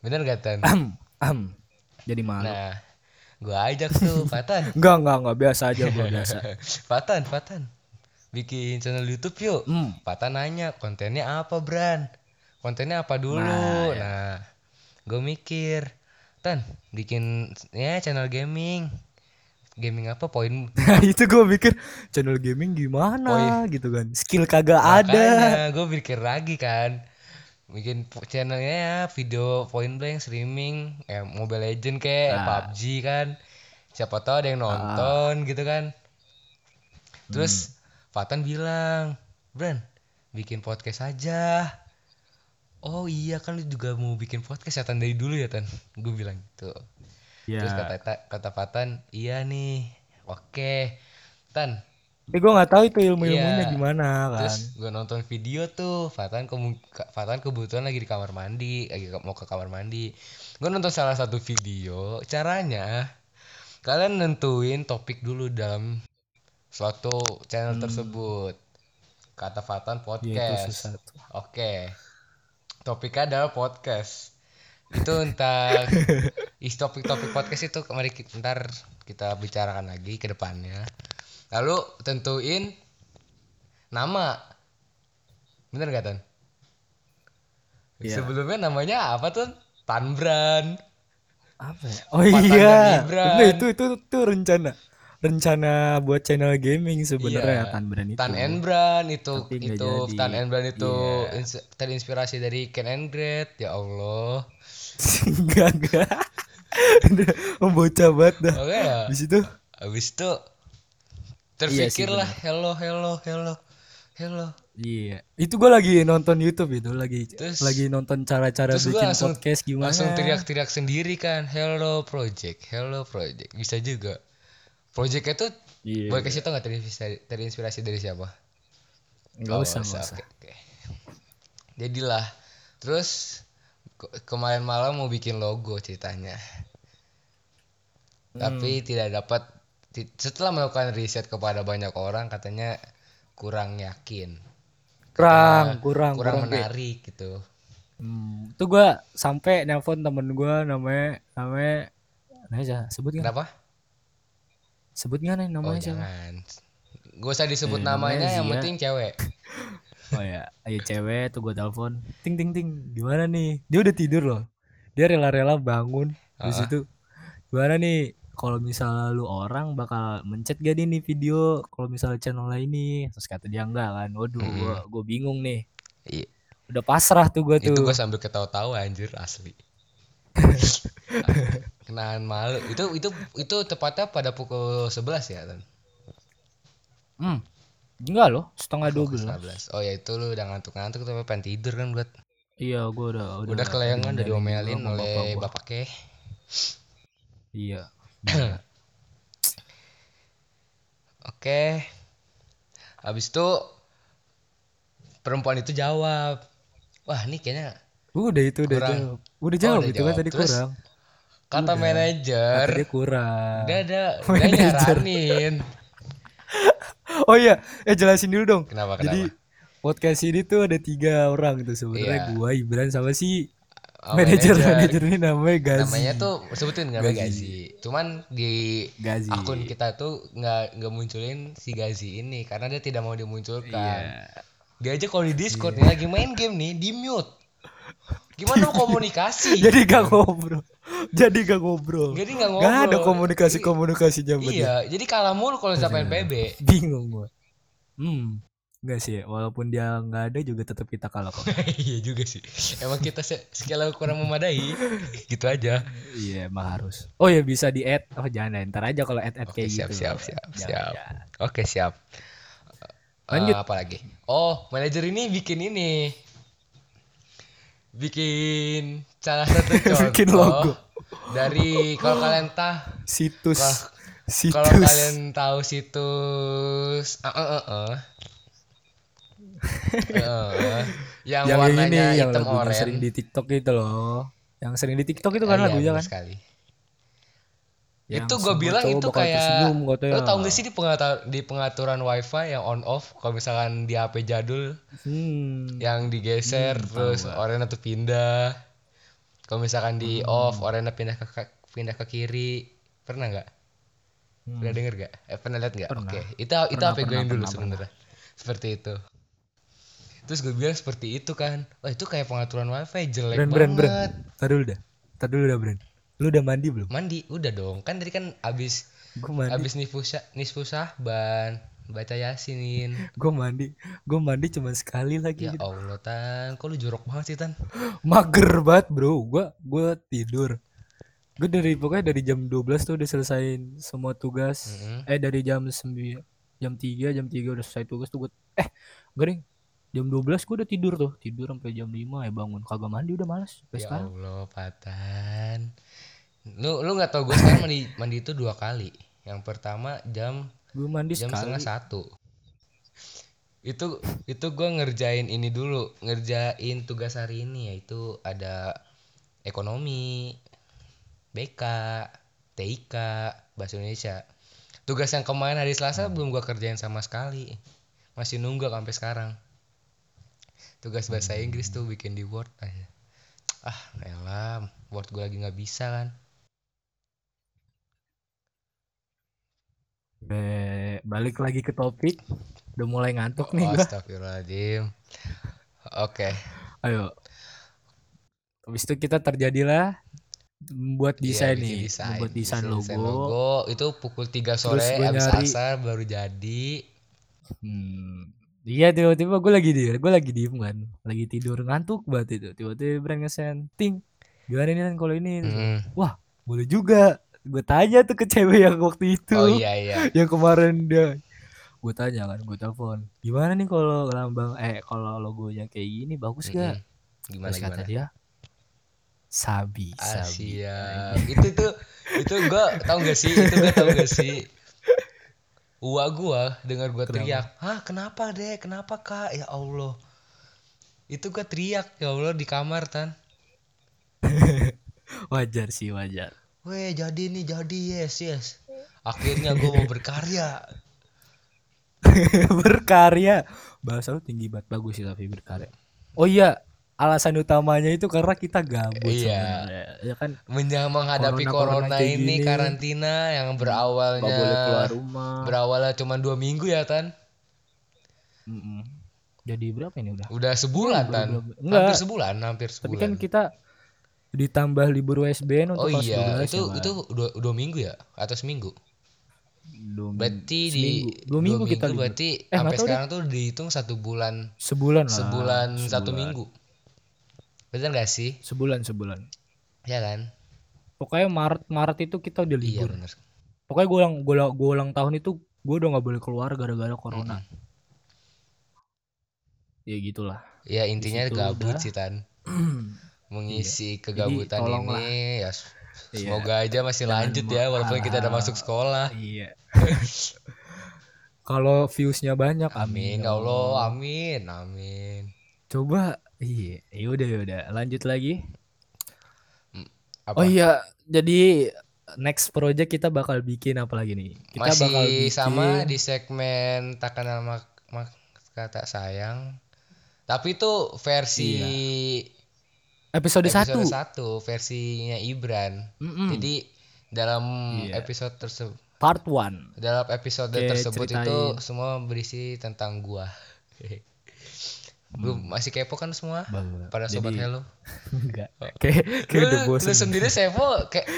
[SPEAKER 2] Bener gak Tan?
[SPEAKER 1] Ahem, ahem. Jadi malu.
[SPEAKER 2] Nah, gua ajak tuh Fatan.
[SPEAKER 1] Enggak enggak enggak biasa aja gua biasa.
[SPEAKER 2] Fatan, Fatan. Bikin channel YouTube yuk.
[SPEAKER 1] Hmm.
[SPEAKER 2] Fatan nanya, kontennya apa, Bran? Kontennya apa dulu? Nah,
[SPEAKER 1] Nah,
[SPEAKER 2] gue mikir, Tan, bikin ya channel gaming. Gaming apa? Poin
[SPEAKER 1] itu gua pikir channel gaming gimana
[SPEAKER 2] Oh,
[SPEAKER 1] gitu kan. Skill kagak ada.
[SPEAKER 2] Makanya gue pikir lagi kan bikin po- channelnya ya video point blank streaming eh, Mobile Legend kayak
[SPEAKER 1] Nah.
[SPEAKER 2] PUBG kan siapa tahu ada yang
[SPEAKER 1] Ah.
[SPEAKER 2] nonton gitu kan
[SPEAKER 1] Hmm.
[SPEAKER 2] terus Fatan bilang Bran bikin podcast aja oh iya kan lu juga mau bikin podcast ya Tan dari dulu ya Tan gue bilang gitu terus
[SPEAKER 1] Ya.
[SPEAKER 2] kata kata Fatan iya nih oke Tan
[SPEAKER 1] Tapi gua nggak tahu itu ilmu-ilmunya
[SPEAKER 2] Iya.
[SPEAKER 1] gimana kan.
[SPEAKER 2] Terus gue nonton video tuh Fatan, kemu- Ka- Fatan kebetulan lagi di kamar mandi Lagi ke- mau ke kamar mandi Gue nonton salah satu video Caranya Kalian nentuin topik dulu dalam Suatu channel tersebut Kata Fatan
[SPEAKER 1] Ya, itu susah
[SPEAKER 2] podcast
[SPEAKER 1] tuh.
[SPEAKER 2] Oke Topiknya adalah podcast Itu entar Is topik-topik podcast itu Mari ki- ntar kita bicarakan lagi ke depannya Lalu tentuin nama bener gak Tan?
[SPEAKER 1] Iya.
[SPEAKER 2] sebelumnya namanya apa tuh Tanbran
[SPEAKER 1] Apa ya? Oh
[SPEAKER 2] Patah
[SPEAKER 1] iya.
[SPEAKER 2] dan Gibran.
[SPEAKER 1] Bener, itu itu itu rencana rencana buat channel gaming sebenarnya
[SPEAKER 2] Iya.
[SPEAKER 1] Tan Brand itu.
[SPEAKER 2] Tan and Bran itu
[SPEAKER 1] Gitu. Tapi nggak
[SPEAKER 2] itu
[SPEAKER 1] jadi. Iya.
[SPEAKER 2] Tan and Bran itu ins- terinspirasi dari Ken and Great ya Allah
[SPEAKER 1] enggak enggak. Membocah banget dah.
[SPEAKER 2] oke ya
[SPEAKER 1] Di situ
[SPEAKER 2] abis itu
[SPEAKER 1] Iya sih,
[SPEAKER 2] terpikirlah hello hello hello hello
[SPEAKER 1] Iya, itu gue lagi nonton YouTube itu, lagi
[SPEAKER 2] Terus-
[SPEAKER 1] lagi nonton cara-cara
[SPEAKER 2] terus gua
[SPEAKER 1] bikin
[SPEAKER 2] langsung-
[SPEAKER 1] podcast gimana.
[SPEAKER 2] langsung teriak-teriak sendiri kan hello project hello project bisa juga project itu
[SPEAKER 1] Iya.
[SPEAKER 2] boleh kasih tau nggak terinspirasi, terinspirasi dari siapa
[SPEAKER 1] Nggak
[SPEAKER 2] Oh,
[SPEAKER 1] usah, nggak usah.
[SPEAKER 2] oke, oke. jadilah terus ke- kemarin malam mau bikin logo ceritanya
[SPEAKER 1] Hmm.
[SPEAKER 2] tapi tidak dapat ti- setelah melakukan riset kepada banyak orang katanya kurang yakin
[SPEAKER 1] Kurang,
[SPEAKER 2] Katanya
[SPEAKER 1] kurang,
[SPEAKER 2] kurang
[SPEAKER 1] kurang, Pi.
[SPEAKER 2] menarik gitu
[SPEAKER 1] Hmm, itu gue sampai nelpon temen gue namanya namanya namanya aja sebut nggak?
[SPEAKER 2] kenapa
[SPEAKER 1] Sebut nggak nih
[SPEAKER 2] oh
[SPEAKER 1] Iya, namanya siapa?
[SPEAKER 2] jangan gak usah disebut
[SPEAKER 1] Eh, namanya
[SPEAKER 2] namanya yang
[SPEAKER 1] Zia.
[SPEAKER 2] penting cewek
[SPEAKER 1] Oh ya, ayo cewek tuh gue telepon. Ting ting ting, gimana nih? Dia udah tidur loh. Dia rela-rela bangun.
[SPEAKER 2] Ah.
[SPEAKER 1] Terus itu gimana nih? Kalau misalnya lu orang bakal mencet gak dia nih video kalau misalnya channel ini terus kata dia enggak kan waduh
[SPEAKER 2] Mm-mm.
[SPEAKER 1] gua gua bingung nih Iya.
[SPEAKER 2] I-
[SPEAKER 1] udah pasrah tuh gua
[SPEAKER 2] itu
[SPEAKER 1] tuh
[SPEAKER 2] gue sambil ketawa-tawa anjir asli kenaan malu itu itu itu tepatnya pada pukul 11 ya Tan?
[SPEAKER 1] Hmm. enggak loh setengah dua
[SPEAKER 2] Pukul 11 oh ya itu lu udah ngantuk-ngantuk tapi pengen tidur kan buat
[SPEAKER 1] iya gua udah udah
[SPEAKER 2] udah kelayangan udah diomelin
[SPEAKER 1] dinyalain dulu sama bapak
[SPEAKER 2] oleh
[SPEAKER 1] gua.
[SPEAKER 2] bapak ke
[SPEAKER 1] iya
[SPEAKER 2] Oke. Habis itu perempuan itu jawab. Wah, ini kayaknya
[SPEAKER 1] udah itu udah
[SPEAKER 2] Kurang.
[SPEAKER 1] jawab udah
[SPEAKER 2] Oh,
[SPEAKER 1] jawab
[SPEAKER 2] udah
[SPEAKER 1] itu kan
[SPEAKER 2] jawab.
[SPEAKER 1] tadi
[SPEAKER 2] Terus er.
[SPEAKER 1] kurang
[SPEAKER 2] kata
[SPEAKER 1] Udah.
[SPEAKER 2] manajer,
[SPEAKER 1] Kata dia kurang
[SPEAKER 2] dia ada dia
[SPEAKER 1] Manajer.
[SPEAKER 2] nyaranin.
[SPEAKER 1] oh iya eh jelasin dulu dong
[SPEAKER 2] Kenapa kenapa?
[SPEAKER 1] Jadi podcast ini tuh ada tiga orang tuh sebenarnya
[SPEAKER 2] Iya.
[SPEAKER 1] gua Ibran sama si
[SPEAKER 2] Oh,
[SPEAKER 1] manajer kan ya? manajer ini namanya Gazi.
[SPEAKER 2] Namanya tuh sebutin nggak
[SPEAKER 1] Gazi.
[SPEAKER 2] Gazi. Cuman di
[SPEAKER 1] Gazi.
[SPEAKER 2] akun kita tuh nggak nggak munculin si Gazi ini karena dia tidak mau dimunculkan.
[SPEAKER 1] Iya.
[SPEAKER 2] Dia aja kalau di Discord nih lagi main game nih di mute. Gimana mau komunikasi?
[SPEAKER 1] Jadi gak ngobrol. Jadi gak ngobrol.
[SPEAKER 2] Jadi nggak ngobrol.
[SPEAKER 1] Gak ada komunikasi Iya. komunikasinya
[SPEAKER 2] Iya, jadi kalah mulu kalau sampai PB.
[SPEAKER 1] Bingung gua. Hmm. Enggak sih, walaupun dia nggak ada juga tetap kita kalah kok.
[SPEAKER 2] iya juga sih. Emang kita se- skala kurang memadai. gitu aja.
[SPEAKER 1] Iya, emang harus. Oh ya bisa di add. Oh jangan, deh, ntar aja kalau add add
[SPEAKER 2] Oke,
[SPEAKER 1] kayak
[SPEAKER 2] siap,
[SPEAKER 1] gitu.
[SPEAKER 2] siap, siap,
[SPEAKER 1] Jangan,
[SPEAKER 2] siap.
[SPEAKER 1] jangan.
[SPEAKER 2] Oke, siap. Eh,
[SPEAKER 1] Lanjut.
[SPEAKER 2] apa lagi? Oh, manajer ini bikin ini. Bikin salah satu contoh
[SPEAKER 1] Bikin logo.
[SPEAKER 2] dari kalau kalian tah
[SPEAKER 1] Situs.
[SPEAKER 2] Kalau- kalau
[SPEAKER 1] Situs.
[SPEAKER 2] kalian tahu situs eh, eh, eh, eh. Eh, eh. yang,
[SPEAKER 1] yang ini
[SPEAKER 2] warnanya
[SPEAKER 1] yang
[SPEAKER 2] hitam
[SPEAKER 1] lagunya
[SPEAKER 2] oranye
[SPEAKER 1] sering di TikTok itu loh. Yang sering di TikTok itu kan
[SPEAKER 2] Ah, iya,
[SPEAKER 1] lagunya
[SPEAKER 2] bener
[SPEAKER 1] kan.
[SPEAKER 2] sekali.
[SPEAKER 1] Yang
[SPEAKER 2] itu gue
[SPEAKER 1] Ya, semua
[SPEAKER 2] bilang
[SPEAKER 1] cowok
[SPEAKER 2] itu
[SPEAKER 1] bakal
[SPEAKER 2] kayak
[SPEAKER 1] tersenyum ya. katanya.
[SPEAKER 2] lo tau gak sih di pengaturan di pengaturan wifi yang on off kalau misalkan di HP jadul
[SPEAKER 1] Hmm.
[SPEAKER 2] yang digeser terus oranye tuh pindah kalau misalkan di
[SPEAKER 1] Hmm.
[SPEAKER 2] off oranye pindah ke ke- pindah ke kiri pernah nggak
[SPEAKER 1] Hmm.
[SPEAKER 2] pernah denger gak eh pernah lihat nggak
[SPEAKER 1] Pernah.
[SPEAKER 2] oke itu itu
[SPEAKER 1] Pernah,
[SPEAKER 2] HP gue
[SPEAKER 1] pernah,
[SPEAKER 2] yang dulu
[SPEAKER 1] pernah,
[SPEAKER 2] sebenarnya seperti itu terus gue bilang seperti itu kan wah itu kayak pengaturan wifi jelek
[SPEAKER 1] Bren,
[SPEAKER 2] banget
[SPEAKER 1] Bren, Bren. Tar dulu dah. Tar dulu dah, Bren. Lu udah mandi belum?
[SPEAKER 2] mandi udah dong kan tadi kan abis
[SPEAKER 1] Gue mandi.
[SPEAKER 2] abis nifusa nisfu sahban baca yasinin
[SPEAKER 1] Gue mandi. Gue mandi cuma sekali lagi.
[SPEAKER 2] ya allah tan kok lu jorok banget sih tan
[SPEAKER 1] Mager banget, Bro. Gua gua tidur. Gue dari pokoknya dari jam 12 tuh udah selesain semua tugas.
[SPEAKER 2] Mhm.
[SPEAKER 1] Eh dari jam 9 jam 3 jam 3 udah selesai tugas tuh gue eh garing jam 12 gue udah tidur tuh tidur sampai jam 5 ya bangun kagak mandi udah malas sampai
[SPEAKER 2] ya
[SPEAKER 1] sekarang
[SPEAKER 2] allah patan lu lu nggak tau gue sekarang mandi mandi itu dua kali yang pertama jam
[SPEAKER 1] gue mandi
[SPEAKER 2] jam
[SPEAKER 1] sekali
[SPEAKER 2] setengah satu itu itu gue ngerjain ini dulu ngerjain tugas hari ini yaitu ada ekonomi BK TIK bahasa Indonesia tugas yang kemarin hari Selasa belum gue kerjain sama sekali masih nunggu sampai sekarang tugas bahasa Inggris tuh bikin di Word ah elam Word gue lagi nggak bisa kan
[SPEAKER 1] Be- balik lagi ke topik udah mulai ngantuk nih gua.
[SPEAKER 2] Astagfirullahaladzim oke
[SPEAKER 1] ayo habis itu kita terjadilah membuat
[SPEAKER 2] Iya,
[SPEAKER 1] desain
[SPEAKER 2] bikin
[SPEAKER 1] nih membuat
[SPEAKER 2] bikin
[SPEAKER 1] desain logo,
[SPEAKER 2] itu pukul 3 sore
[SPEAKER 1] Terus gua
[SPEAKER 2] habis
[SPEAKER 1] nyari-
[SPEAKER 2] asar baru jadi
[SPEAKER 1] Hmm. Iya tiba-tiba gue lagi di gue lagi diem kan lagi tidur ngantuk banget itu tiba-tiba brand ngesen ting gimana nih Lan kalau ini Terus
[SPEAKER 2] Mm.
[SPEAKER 1] gua, boleh juga gue tanya tuh ke cewek yang waktu itu
[SPEAKER 2] oh iya iya
[SPEAKER 1] yang kemarin dia gue tanya kan gue telepon gimana nih kalau lambang eh kalau logonya kayak gini bagus
[SPEAKER 2] Mm-mm.
[SPEAKER 1] gak
[SPEAKER 2] Hmm, Gimana
[SPEAKER 1] terus
[SPEAKER 2] gimana?
[SPEAKER 1] kata
[SPEAKER 2] Ah,
[SPEAKER 1] dia sabi sabi
[SPEAKER 2] Asia. Itu tuh itu gua tau gak sih? Itu gua tau gak sih? Uwa gua dengar gua teriak, "Hah, kenapa deh? Kenapa, Kak? Ya Allah." Itu gua teriak, ya Allah di kamar tan.
[SPEAKER 1] wajar sih wajar
[SPEAKER 2] Weh, jadi nih, jadi yes, yes. Akhirnya gua mau berkarya.
[SPEAKER 1] berkarya bahasa lu tinggi banget bagus sih tapi berkarya oh iya alasan utamanya itu karena kita gabut
[SPEAKER 2] Iya.
[SPEAKER 1] sebenarnya. ya kan
[SPEAKER 2] Menja- menghadapi
[SPEAKER 1] Corona-corona
[SPEAKER 2] corona,
[SPEAKER 1] kayak
[SPEAKER 2] ini
[SPEAKER 1] gini.
[SPEAKER 2] karantina yang
[SPEAKER 1] nggak boleh keluar
[SPEAKER 2] berawalnya
[SPEAKER 1] rumah
[SPEAKER 2] berawalnya cuma dua minggu ya tan
[SPEAKER 1] Mm-mm. jadi berapa ini udah
[SPEAKER 2] udah sebulan
[SPEAKER 1] Belum,
[SPEAKER 2] tan
[SPEAKER 1] belum, belum.
[SPEAKER 2] hampir
[SPEAKER 1] Enggak.
[SPEAKER 2] sebulan hampir
[SPEAKER 1] Iya, tapi kan
[SPEAKER 2] sebulan
[SPEAKER 1] kita ditambah libur USBN untuk
[SPEAKER 2] oh
[SPEAKER 1] kelas
[SPEAKER 2] iya
[SPEAKER 1] 12 ya,
[SPEAKER 2] itu
[SPEAKER 1] Bang.
[SPEAKER 2] itu dua, dua minggu ya atau seminggu
[SPEAKER 1] Dua minggu-
[SPEAKER 2] berarti
[SPEAKER 1] seminggu.
[SPEAKER 2] di
[SPEAKER 1] dua minggu kita libur. Eh,
[SPEAKER 2] berarti
[SPEAKER 1] nggak
[SPEAKER 2] sampai
[SPEAKER 1] tahu deh.
[SPEAKER 2] sekarang tuh dihitung satu bulan
[SPEAKER 1] sebulan lah
[SPEAKER 2] sebulan satu
[SPEAKER 1] Sebulan.
[SPEAKER 2] minggu bener gak sih
[SPEAKER 1] sebulan sebulan
[SPEAKER 2] ya kan
[SPEAKER 1] pokoknya Maret Maret itu kita udah
[SPEAKER 2] iya
[SPEAKER 1] libur
[SPEAKER 2] bener
[SPEAKER 1] pokoknya gue ulang gue ulang, gua ulang tahun itu gue udah nggak boleh keluar gara-gara corona ya gitulah
[SPEAKER 2] ya intinya
[SPEAKER 1] situ
[SPEAKER 2] gabut
[SPEAKER 1] udah. Iya.
[SPEAKER 2] sih tan mengisi kegabutan
[SPEAKER 1] tolonglah.
[SPEAKER 2] ini ya s-
[SPEAKER 1] Iya.
[SPEAKER 2] semoga aja masih
[SPEAKER 1] Jangan
[SPEAKER 2] lanjut ya walaupun kita udah
[SPEAKER 1] mahal.
[SPEAKER 2] masuk sekolah
[SPEAKER 1] iya kalau viewsnya banyak
[SPEAKER 2] amin
[SPEAKER 1] amin
[SPEAKER 2] ya allah amin amin
[SPEAKER 1] coba iya yaudah yaudah lanjut lagi
[SPEAKER 2] apa
[SPEAKER 1] oh iya jadi next project kita bakal bikin apa lagi nih kita
[SPEAKER 2] masih
[SPEAKER 1] bakal bikin
[SPEAKER 2] sama di segmen tak kenal mak, mak- kata sayang tapi itu versi
[SPEAKER 1] Iya. episode,
[SPEAKER 2] episode
[SPEAKER 1] 1
[SPEAKER 2] satu Hmm. versinya Ibran jadi dalam
[SPEAKER 1] Iya.
[SPEAKER 2] episode tersebut
[SPEAKER 1] part 1
[SPEAKER 2] dalam episode
[SPEAKER 1] Oke,
[SPEAKER 2] tersebut itu
[SPEAKER 1] ceritain.
[SPEAKER 2] semua berisi tentang gua belum
[SPEAKER 1] Hmm.
[SPEAKER 2] masih kepo kan semua pada Eh, sobat hello
[SPEAKER 1] enggak kayak kayak udah
[SPEAKER 2] lu, lu
[SPEAKER 1] bosen
[SPEAKER 2] sendiri kepo kayak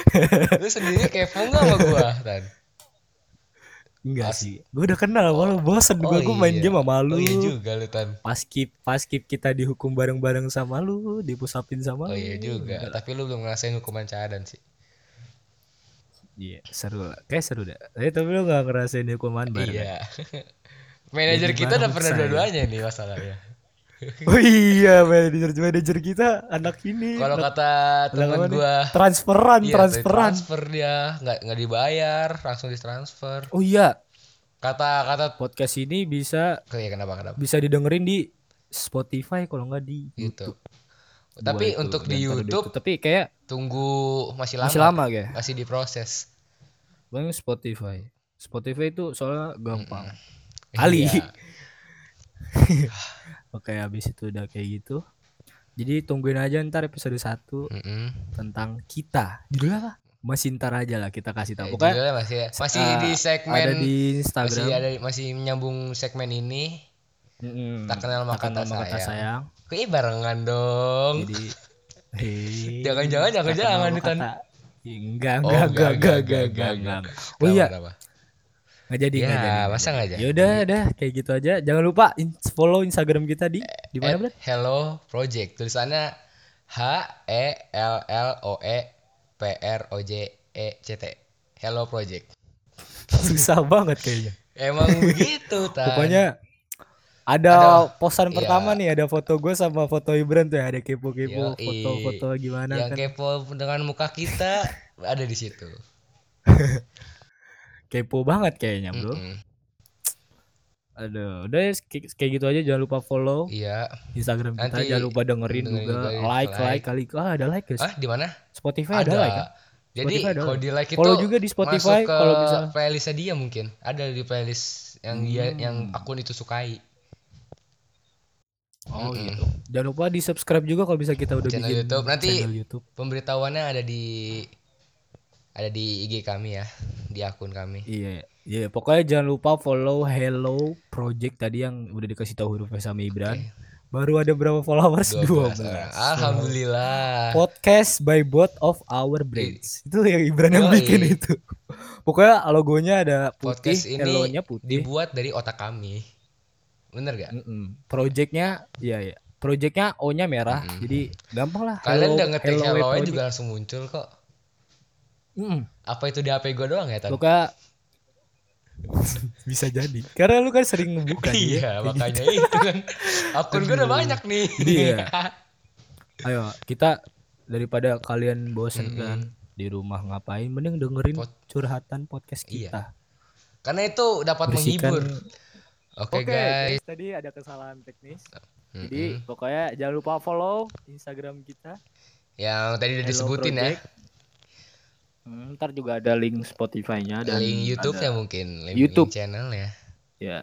[SPEAKER 2] lu sendiri kepo nggak sama gua Tan?
[SPEAKER 1] enggak sih gue udah kenal malu bosen
[SPEAKER 2] oh
[SPEAKER 1] gue gue main
[SPEAKER 2] iya.
[SPEAKER 1] game sama
[SPEAKER 2] oh
[SPEAKER 1] lu
[SPEAKER 2] iya juga lu tan
[SPEAKER 1] pas skip pas skip kita dihukum bareng-bareng sama lu dipusapin sama
[SPEAKER 2] oh
[SPEAKER 1] lu
[SPEAKER 2] iya juga tapi lu belum ngerasain hukuman cadan sih
[SPEAKER 1] Iya, seru lah kayak seru dah eh, tapi lu gak ngerasain hukuman bareng
[SPEAKER 2] iya
[SPEAKER 1] ya?
[SPEAKER 2] manajer
[SPEAKER 1] Jadi
[SPEAKER 2] kita udah
[SPEAKER 1] bangsat.
[SPEAKER 2] pernah dua-duanya nih masalahnya
[SPEAKER 1] oh iya manajer manajer kita anak ini
[SPEAKER 2] kalau
[SPEAKER 1] anak-
[SPEAKER 2] kata
[SPEAKER 1] anak
[SPEAKER 2] temen
[SPEAKER 1] Iya, apa nih?
[SPEAKER 2] gua
[SPEAKER 1] transferan
[SPEAKER 2] iya,
[SPEAKER 1] transferan
[SPEAKER 2] transfer dia nggak nggak dibayar langsung ditransfer
[SPEAKER 1] oh iya
[SPEAKER 2] kata kata
[SPEAKER 1] podcast ini bisa
[SPEAKER 2] oh, iya kenapa kenapa
[SPEAKER 1] bisa didengerin di Spotify kalau nggak di
[SPEAKER 2] YouTube.
[SPEAKER 1] YouTube.
[SPEAKER 2] Iya, Gitu. Tapi
[SPEAKER 1] Gua itu,
[SPEAKER 2] untuk di
[SPEAKER 1] diantar
[SPEAKER 2] YouTube
[SPEAKER 1] tapi kayak
[SPEAKER 2] tunggu masih lama,
[SPEAKER 1] masih
[SPEAKER 2] masih,
[SPEAKER 1] lama kayak.
[SPEAKER 2] diproses.
[SPEAKER 1] Bang Spotify. Spotify itu soalnya gampang. Ali.
[SPEAKER 2] Iya.
[SPEAKER 1] Oke, habis itu udah kayak gitu. Jadi tungguin aja ntar episode 1
[SPEAKER 2] Mm-mm.
[SPEAKER 1] tentang kita. Judulnya apa? Masih ntar aja lah kita kasih
[SPEAKER 2] Ya,
[SPEAKER 1] tahu. Nah, Pokoknya
[SPEAKER 2] judulnya masih masih
[SPEAKER 1] eh,
[SPEAKER 2] di segmen
[SPEAKER 1] ada di
[SPEAKER 2] masih
[SPEAKER 1] Instagram.
[SPEAKER 2] ada masih menyambung segmen ini.
[SPEAKER 1] Mm-mm.
[SPEAKER 2] Tak kenal maka
[SPEAKER 1] Takkan
[SPEAKER 2] tak
[SPEAKER 1] lama kata
[SPEAKER 2] sayang.
[SPEAKER 1] sayang.
[SPEAKER 2] Kok iya barengan dong.
[SPEAKER 1] Jadi Hei,
[SPEAKER 2] Jangan-jangan,
[SPEAKER 1] tak kenal
[SPEAKER 2] jangan-jangan,
[SPEAKER 1] maka
[SPEAKER 2] Ditan.
[SPEAKER 1] tak- Ya, Enggak,
[SPEAKER 2] Oh,
[SPEAKER 1] enggak, enggak,
[SPEAKER 2] enggak,
[SPEAKER 1] enggak, enggak,
[SPEAKER 2] enggak,
[SPEAKER 1] enggak, enggak.
[SPEAKER 2] Kenapa,
[SPEAKER 1] Oh iya,
[SPEAKER 2] kenapa?
[SPEAKER 1] enggak jadi,
[SPEAKER 2] Ya,
[SPEAKER 1] enggak jadi.
[SPEAKER 2] masa enggak jadi?
[SPEAKER 1] Yaudah, dah, kayak gitu aja. Jangan lupa in- follow Instagram kita di di
[SPEAKER 2] At
[SPEAKER 1] mana, Bro?
[SPEAKER 2] Hello Project. Tulisannya H E L L O E P R O J E C T. Hello Project.
[SPEAKER 1] Susah banget kayaknya.
[SPEAKER 2] Emang begitu, Tan.
[SPEAKER 1] Pokoknya ada
[SPEAKER 2] Ada-
[SPEAKER 1] posan
[SPEAKER 2] iya.
[SPEAKER 1] pertama nih, ada foto gue sama foto Ibran tuh, ya, ada kepo-kepo,
[SPEAKER 2] Yoi. Iya,
[SPEAKER 1] foto-foto gimana
[SPEAKER 2] yang
[SPEAKER 1] kan.
[SPEAKER 2] kepo dengan muka kita ada di situ.
[SPEAKER 1] Kepo banget kayaknya, Bro.
[SPEAKER 2] Mm-mm.
[SPEAKER 1] Aduh, udah ya, kayak kayak gitu aja jangan lupa follow
[SPEAKER 2] Iya.
[SPEAKER 1] Instagram kita,
[SPEAKER 2] Nanti
[SPEAKER 1] jangan lupa dengerin
[SPEAKER 2] dengerin
[SPEAKER 1] juga,
[SPEAKER 2] juga, ya.
[SPEAKER 1] like,
[SPEAKER 2] like.
[SPEAKER 1] like, kali. Ah, ada like, guys.
[SPEAKER 2] Ah, di mana?
[SPEAKER 1] Spotify ada,
[SPEAKER 2] Ada.
[SPEAKER 1] like. kan?
[SPEAKER 2] Jadi
[SPEAKER 1] Spotify ada
[SPEAKER 2] kalau
[SPEAKER 1] like.
[SPEAKER 2] di like itu
[SPEAKER 1] Follow juga di Spotify
[SPEAKER 2] masuk ke
[SPEAKER 1] kalau bisa. Hmm.
[SPEAKER 2] playlistnya dia mungkin. Ada di playlist yang dia yang akun itu sukai.
[SPEAKER 1] Oh
[SPEAKER 2] Mm-mm.
[SPEAKER 1] gitu. Jangan lupa di subscribe juga kalau bisa kita udah
[SPEAKER 2] Channel
[SPEAKER 1] bikin
[SPEAKER 2] YouTube. Nanti-
[SPEAKER 1] channel YouTube.
[SPEAKER 2] Pemberitahuannya ada di ada di IG kami ya, di akun kami.
[SPEAKER 1] Iya, iya. Pokoknya jangan lupa follow Hello Project tadi yang udah dikasih tahu hurufnya sama Ibran. Baru ada berapa followers?
[SPEAKER 2] 12 orang.
[SPEAKER 1] 12.
[SPEAKER 2] eh, Alhamdulillah.
[SPEAKER 1] Podcast by both of our brains. Itu yang Ibran yang
[SPEAKER 2] Yoi.
[SPEAKER 1] bikin itu. Pokoknya logonya ada putih,
[SPEAKER 2] Podcast ini
[SPEAKER 1] hello-nya putih.
[SPEAKER 2] Dibuat dari otak kami. Bener gak?
[SPEAKER 1] Mm-mm. Projectnya, iya ya. Projectnya O-nya merah.
[SPEAKER 2] Mm-mm.
[SPEAKER 1] Jadi gampang lah.
[SPEAKER 2] Kalian
[SPEAKER 1] Hello-
[SPEAKER 2] udah ngetik
[SPEAKER 1] Hello
[SPEAKER 2] hello
[SPEAKER 1] Project.
[SPEAKER 2] juga langsung muncul kok.
[SPEAKER 1] Mm-mm.
[SPEAKER 2] Apa itu di HP gue doang ya, Tan?
[SPEAKER 1] Pokoknya
[SPEAKER 3] bisa jadi karena lu kan sering ngebuka dia.
[SPEAKER 2] iya,
[SPEAKER 3] Kayak
[SPEAKER 2] makanya itu kan. Akun gue udah
[SPEAKER 3] Aduh.
[SPEAKER 2] banyak nih.
[SPEAKER 3] Iya. gitu. ayo kita daripada kalian bosen
[SPEAKER 2] Mm-mm.
[SPEAKER 3] kan di rumah ngapain mending dengerin
[SPEAKER 2] Pod-
[SPEAKER 3] curhatan podcast
[SPEAKER 2] Iya.
[SPEAKER 3] kita
[SPEAKER 2] Karena itu dapat
[SPEAKER 3] Bersihkan-
[SPEAKER 2] menghibur. Oke, guys.
[SPEAKER 1] guys, tadi ada kesalahan teknis. Jadi
[SPEAKER 2] Mm-mm.
[SPEAKER 1] pokoknya jangan lupa follow Instagram kita.
[SPEAKER 2] Yang tadi udah
[SPEAKER 1] Hello
[SPEAKER 2] disebutin ya.
[SPEAKER 1] Project. Hmm, ntar juga ada link Spotify-nya dan
[SPEAKER 2] Link
[SPEAKER 1] ada-
[SPEAKER 2] YouTube-nya mungkin, link,
[SPEAKER 1] YouTube.
[SPEAKER 2] link channel ya.
[SPEAKER 1] Ya.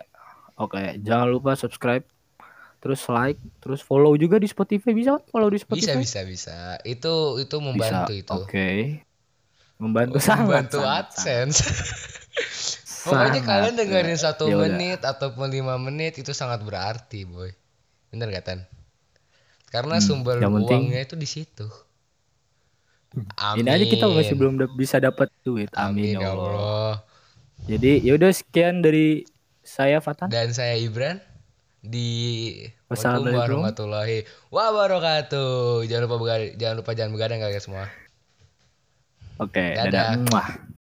[SPEAKER 1] Oke, jangan lupa subscribe, terus like, terus follow juga di Spotify bisa kan? Follow di
[SPEAKER 2] Bisa,
[SPEAKER 1] Spotify.
[SPEAKER 2] bisa, bisa. Itu itu membantu
[SPEAKER 1] Bisa,
[SPEAKER 2] itu.
[SPEAKER 1] Oke. Membantu sangat.
[SPEAKER 2] membantu
[SPEAKER 1] sangat,
[SPEAKER 2] AdSense.
[SPEAKER 1] sangat.
[SPEAKER 2] Pokoknya
[SPEAKER 1] Sangat,
[SPEAKER 2] kalian dengerin
[SPEAKER 1] eh,
[SPEAKER 2] satu
[SPEAKER 1] ya udah.
[SPEAKER 2] menit ataupun lima menit itu sangat berarti, boy. Bener gak Tan? Karena
[SPEAKER 3] Hmm,
[SPEAKER 2] sumber
[SPEAKER 3] yang penting-
[SPEAKER 2] uangnya itu di situ. Amin.
[SPEAKER 1] Ini aja kita masih belum dap- bisa dapat duit.
[SPEAKER 2] Amin
[SPEAKER 1] Amin,
[SPEAKER 2] ya Allah.
[SPEAKER 1] Jadi yaudah sekian dari saya Fatan.
[SPEAKER 2] Dan saya Ibran di Waalaikumsalam
[SPEAKER 1] Wassalamualaikum.
[SPEAKER 2] warahmatullahi wabarakatuh. Jangan lupa begadang, jangan lupa jangan begadang kalian semua.
[SPEAKER 1] Oke,
[SPEAKER 2] Dadah.
[SPEAKER 1] dadah. Muah.